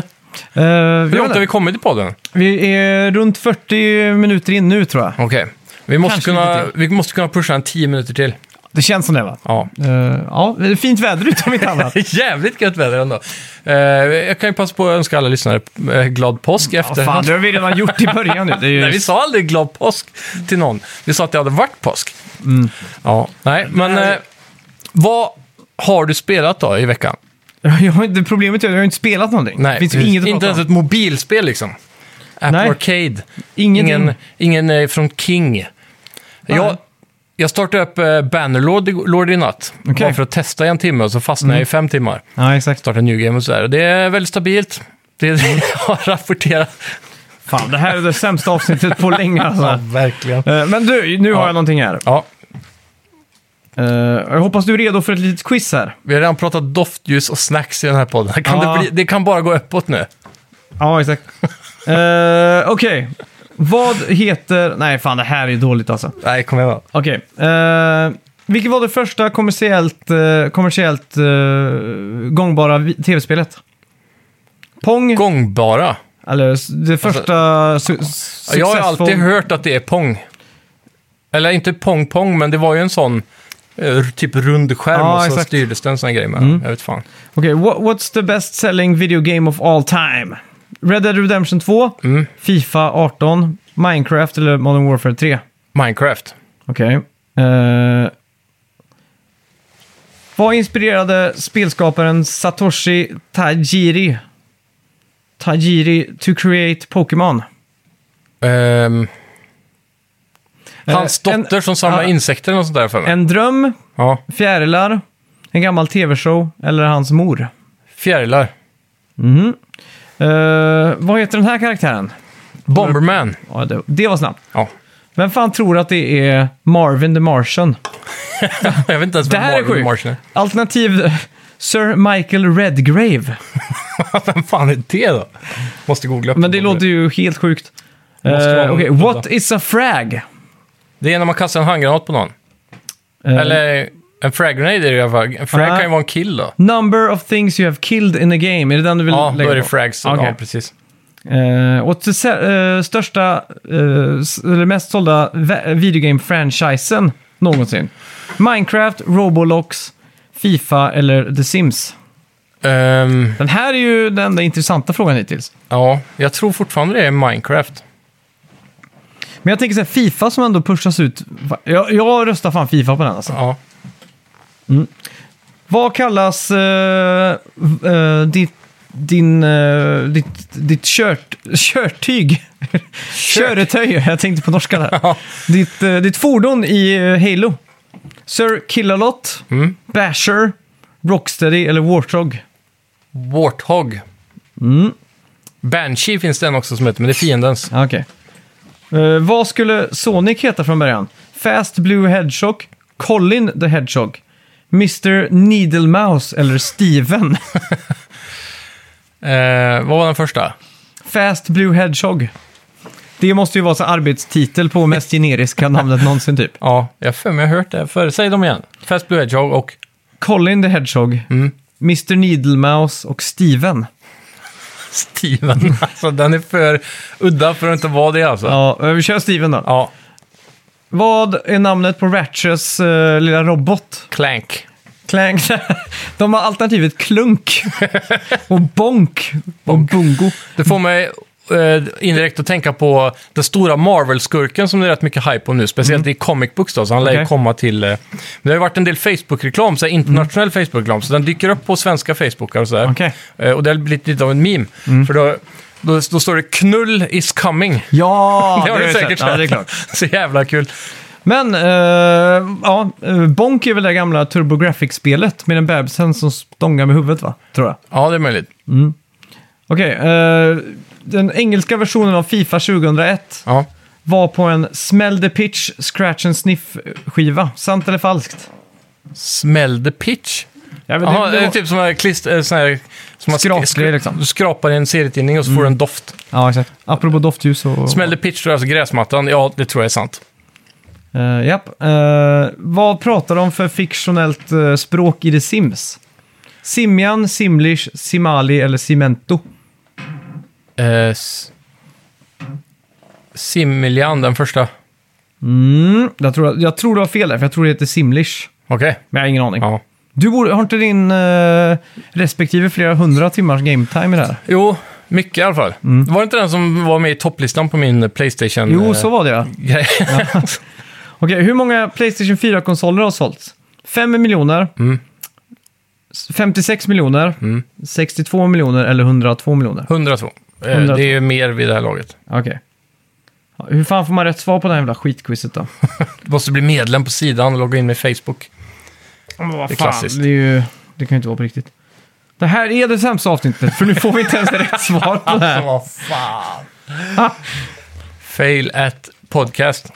S1: Eh,
S2: Hur långt
S1: vet
S2: har vi
S1: inte.
S2: kommit i podden?
S1: vi är runt 40 minuter in nu tror jag.
S2: Okej. Vi, måste
S1: Kanske
S2: kunna,
S1: lite
S2: vi måste kunna pusha en 10 minuter till.
S1: Det känns som det va?
S2: Ja.
S1: Eh, ja, det är fint väder utom inte annat.
S2: Jävligt gött väder ändå. Eh, jag kan ju passa på att önska alla lyssnare eh, glad påsk i
S1: Ja,
S2: efter.
S1: fan, det har vi redan gjort i början nu. Det är ju...
S2: Nej, vi sa aldrig glad påsk till någon. Vi sa att det hade varit påsk.
S1: Mm.
S2: Ja, nej, men eh, vad har du spelat då i veckan?
S1: jag har inte, problemet är att jag har inte spelat någonting.
S2: Nej,
S1: det finns
S2: precis.
S1: inget att prata
S2: inte ens
S1: om.
S2: ett mobilspel liksom. Apple
S1: Nej.
S2: Arcade.
S1: Ingenting.
S2: Ingen, ingen eh, från King. Jag, jag startade upp eh, Bannerlord i- Lord i natt.
S1: Okej. Mm.
S2: Bara för att testa i en timme och så fastnade jag i fem timmar.
S1: Ja, exakt.
S2: Startade New Game och sådär. Och Det är väldigt stabilt. Det är det
S1: Mm.
S2: jag har rapporterat.
S1: Fan, det här är det sämsta avsnittet på länge alltså.
S2: verkligen.
S1: Eh, Men du, nu har
S2: Ja.
S1: jag någonting här.
S2: Ja,
S1: Eh, jag hoppas du är redo för ett litet quiz här.
S2: vi har redan pratat doftljus och snacks i den här podden. Kan
S1: Ja.
S2: det, bli, det kan bara gå uppåt nu.
S1: Ja, exakt. Eh, Okej. Vad heter... Nej, fan det här är dåligt alltså.
S2: Nej, kom igen då.
S1: Okej. eh, vilket var det första kommersiellt, eh, kommersiellt eh, gångbara vi- tv-spelet? Pong?
S2: Gångbara.
S1: eller s- det första... Su- successful...
S2: Jag har alltid hört att det är pong. Eller inte pong-pong, men det var ju en sån eh, typ rund skärm
S1: Ja,
S2: och så
S1: exakt. Mm.
S2: styrdes det en sån grej med. Jag vet fan.
S1: Okej, wha- what's the best selling video game of all time? Red Dead Redemption 2,
S2: Mm.
S1: Fifa 18, Minecraft eller Modern Warfare 3?
S2: Minecraft.
S1: Okej. Eh, vad inspirerade spelskaparen Satoshi Tajiri? Tajiri to create Pokémon.
S2: Ehm, hans
S1: Eh, en-
S2: dotter som samlar
S1: ja.
S2: insekter och sånt där för mig.
S1: En dröm,
S2: Ja.
S1: fjärilar, en gammal tv-show eller hans mor?
S2: Fjärilar.
S1: Eh, vad heter den här karaktären?
S2: Bomberman.
S1: Ja, det, det var snabbt.
S2: Ja.
S1: Vem fan tror att det är Marvin the Martian?
S2: Jag vet inte ens
S1: Det här är
S2: Marvin
S1: sjukt.
S2: Martian är.
S1: Alternativ Sir Michael Redgrave.
S2: Vem fan är det då? Måste googla. upp
S1: Men det låter ju helt sjukt.
S2: Måste
S1: Eh,
S2: vara-
S1: Okej, what is a frag?
S2: Det är när man kastar en handgranat på någon.
S1: Eh, Ah.
S2: Eller En frag grenade är det i alla fall. En frag
S1: Ja.
S2: kan ju vara en kill då.
S1: Number of things you have killed in a game. Är det den du vill
S2: Ja, då
S1: lägga
S2: är det
S1: på?
S2: frags.
S1: Okej.
S2: Ja, precis.
S1: Eh, och till se- eh, största, eh, s- eller mest sålda vä- videogame-franchisen någonsin. Minecraft, Roblox, Fifa eller The Sims.
S2: Ehm,
S1: Den här är ju den enda intressanta frågan hittills.
S2: ja, jag tror fortfarande det är Minecraft.
S1: Men jag tänker så här, Fifa som ändå pushas ut. va- Jag, jag röstar fan Fifa på den alltså.
S2: Ja.
S1: Vad kallas eh, v- eh, ditt, din, eh, ditt, ditt kört, körtyg? Köretöj, jag tänkte på norska där.
S2: Ja.
S1: ditt, eh, ditt fordon i eh, Halo. Sir Killalot, Basher, Rocksteady eller Warthog?
S2: Warthog.
S1: Mm.
S2: Banshee finns det en också som heter, men det är fiendens.
S1: Ja, Okej. Eh, vad skulle Sonic heta från början? Fast Blue Hedgehog, Colin the Hedgehog, Mr Needle Mouse eller Steven?
S2: Eh, vad var den första?
S1: Fast Blue Hedgehog. Det måste ju vara så arbetstitel på mest generiska namnet någonsin typ.
S2: Ja, jag har för mig jag har hört det förr. Säg dem igen. Fast Blue Hedgehog och...
S1: Colin the Hedgehog,
S2: Mm.
S1: Mr Needle Mouse och Steven.
S2: Steven. Alltså den är för udda för att inte vara det alltså. Ja.
S1: Ja, eh, vi kör Steven då. Vad är namnet på Ratchets eh, lilla robot?
S2: Clank.
S1: Clank. De har alternativet Klunk och Bonk och Bungo.
S2: Det får mig eh, indirekt att tänka på den stora Marvel-skurken som det är rätt mycket hype om nu. Speciellt i comic books då, så han lär
S1: Mm. Okej.
S2: ju komma till... Eh, men det har ju varit en del Facebook-reklam, så här internationell Facebook-reklam, så den dyker upp på svenska Facebookar och sådär.
S1: Mm. Okej. Mm.
S2: Eh, och det har blivit lite av en meme. För då, då, då står det “Knull is coming”.
S1: Ja,
S2: det har du
S1: jag
S2: säkert
S1: sett. Ja, det är
S2: sett.
S1: klart.
S2: Så jävla kul.
S1: Men, eh, ja, eh, Bonk är väl det gamla TurboGrafx-spelet med den bebisen som stångar med huvudet va? Tror jag.
S2: Ja, det är möjligt.
S1: Okej, eh, den engelska versionen av Fifa 2001
S2: Ja.
S1: var på en Smell the Pitch Scratch and Sniff-skiva. Sant eller falskt?
S2: Smäll the pitch.
S1: Jag vet,
S2: Jaha,
S1: det,
S2: det är
S1: det,
S2: typ som en klist, eh, sån här, som man sk-
S1: Skrapgrej,
S2: sk-
S1: liksom. Mm.
S2: Du skrapar i en serietidning och så får du en doft.
S1: ja, exakt. Apropå doftljus och...
S2: Smällde pitch, då är alltså gräsmattan. Ja, det tror jag är sant.
S1: Eh, japp. Eh, vad pratar de för fiktionellt eh, språk i The Sims? Simian, Simlish, Simali eller Cimento?
S2: Eh, s- Similjan, den första.
S1: Mm, jag, tror, jag tror du har fel där, för jag tror det heter Simlish.
S2: Okej.
S1: Men jag har ingen aning.
S2: Ja.
S1: Du borde, har inte din eh, respektive flera hundra timmars game time i det här?
S2: Jo, mycket i alla fall. Var det inte den som var med i topplistan på min Playstation? eh,
S1: Jo, så var det ja.
S2: grej?
S1: Okej, hur många Playstation 4-konsoler har sålts? 5 miljoner,
S2: Mm.
S1: 56 miljoner, 62 miljoner eller 102 miljoner?
S2: 102. Eh,
S1: 102.
S2: Det är ju mer vid det här laget.
S1: Okej. Ja, Hur fan får man rätt svar på det här jävla skitquizet då?
S2: Du måste bli medlem på sidan och logga in med Facebook.
S1: Vad
S2: Det är
S1: fan,
S2: klassiskt.
S1: det, är ju, det kan ju inte vara på riktigt. Det här är det sämsta avsnittet, för nu får vi inte ens rätt svar på det här.
S2: Vad fan! Fail at podcast.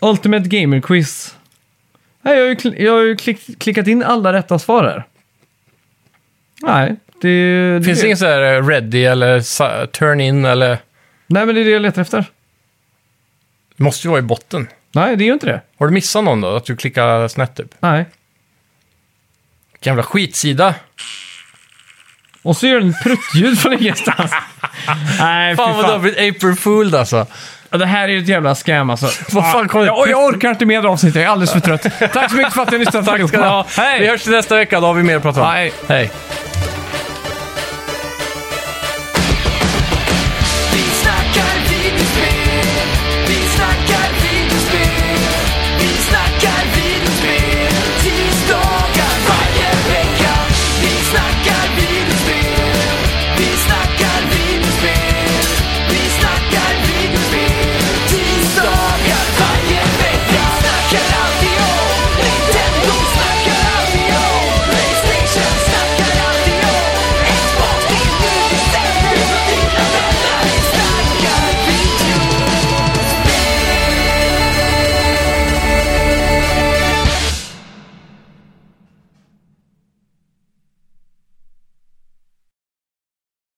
S1: Ultimate Gamer Quiz. Nej, jag har ju, kl- jag har ju klick- klickat in alla rätta svar här. Nej, det, det
S2: Finns det ingen så här eh, ready eller sa- turn in eller...
S1: Nej, men det är det jag letar efter.
S2: Det måste ju vara i botten.
S1: Nej, det är ju inte det.
S2: Har du missat någon då? Att du klickar snett typ?
S1: Nej.
S2: Vilken jävla skitsida!
S1: Och så gör den pruttljud från ingenstans. Nej,
S2: Fan
S1: fy
S2: vad du har blivit April Fooled alltså.
S1: Det här är ju ett jävla scam alltså.
S2: Vad fan kommer det-
S1: jag, jag orkar inte med det avsnittet, jag är alldeles för trött. Tack så mycket för att ni lyssnade.
S2: Tack ska ni ha.
S1: Hej!
S2: Vi hörs nästa vecka, då har vi mer att prata om.
S1: Hej.
S2: Hej.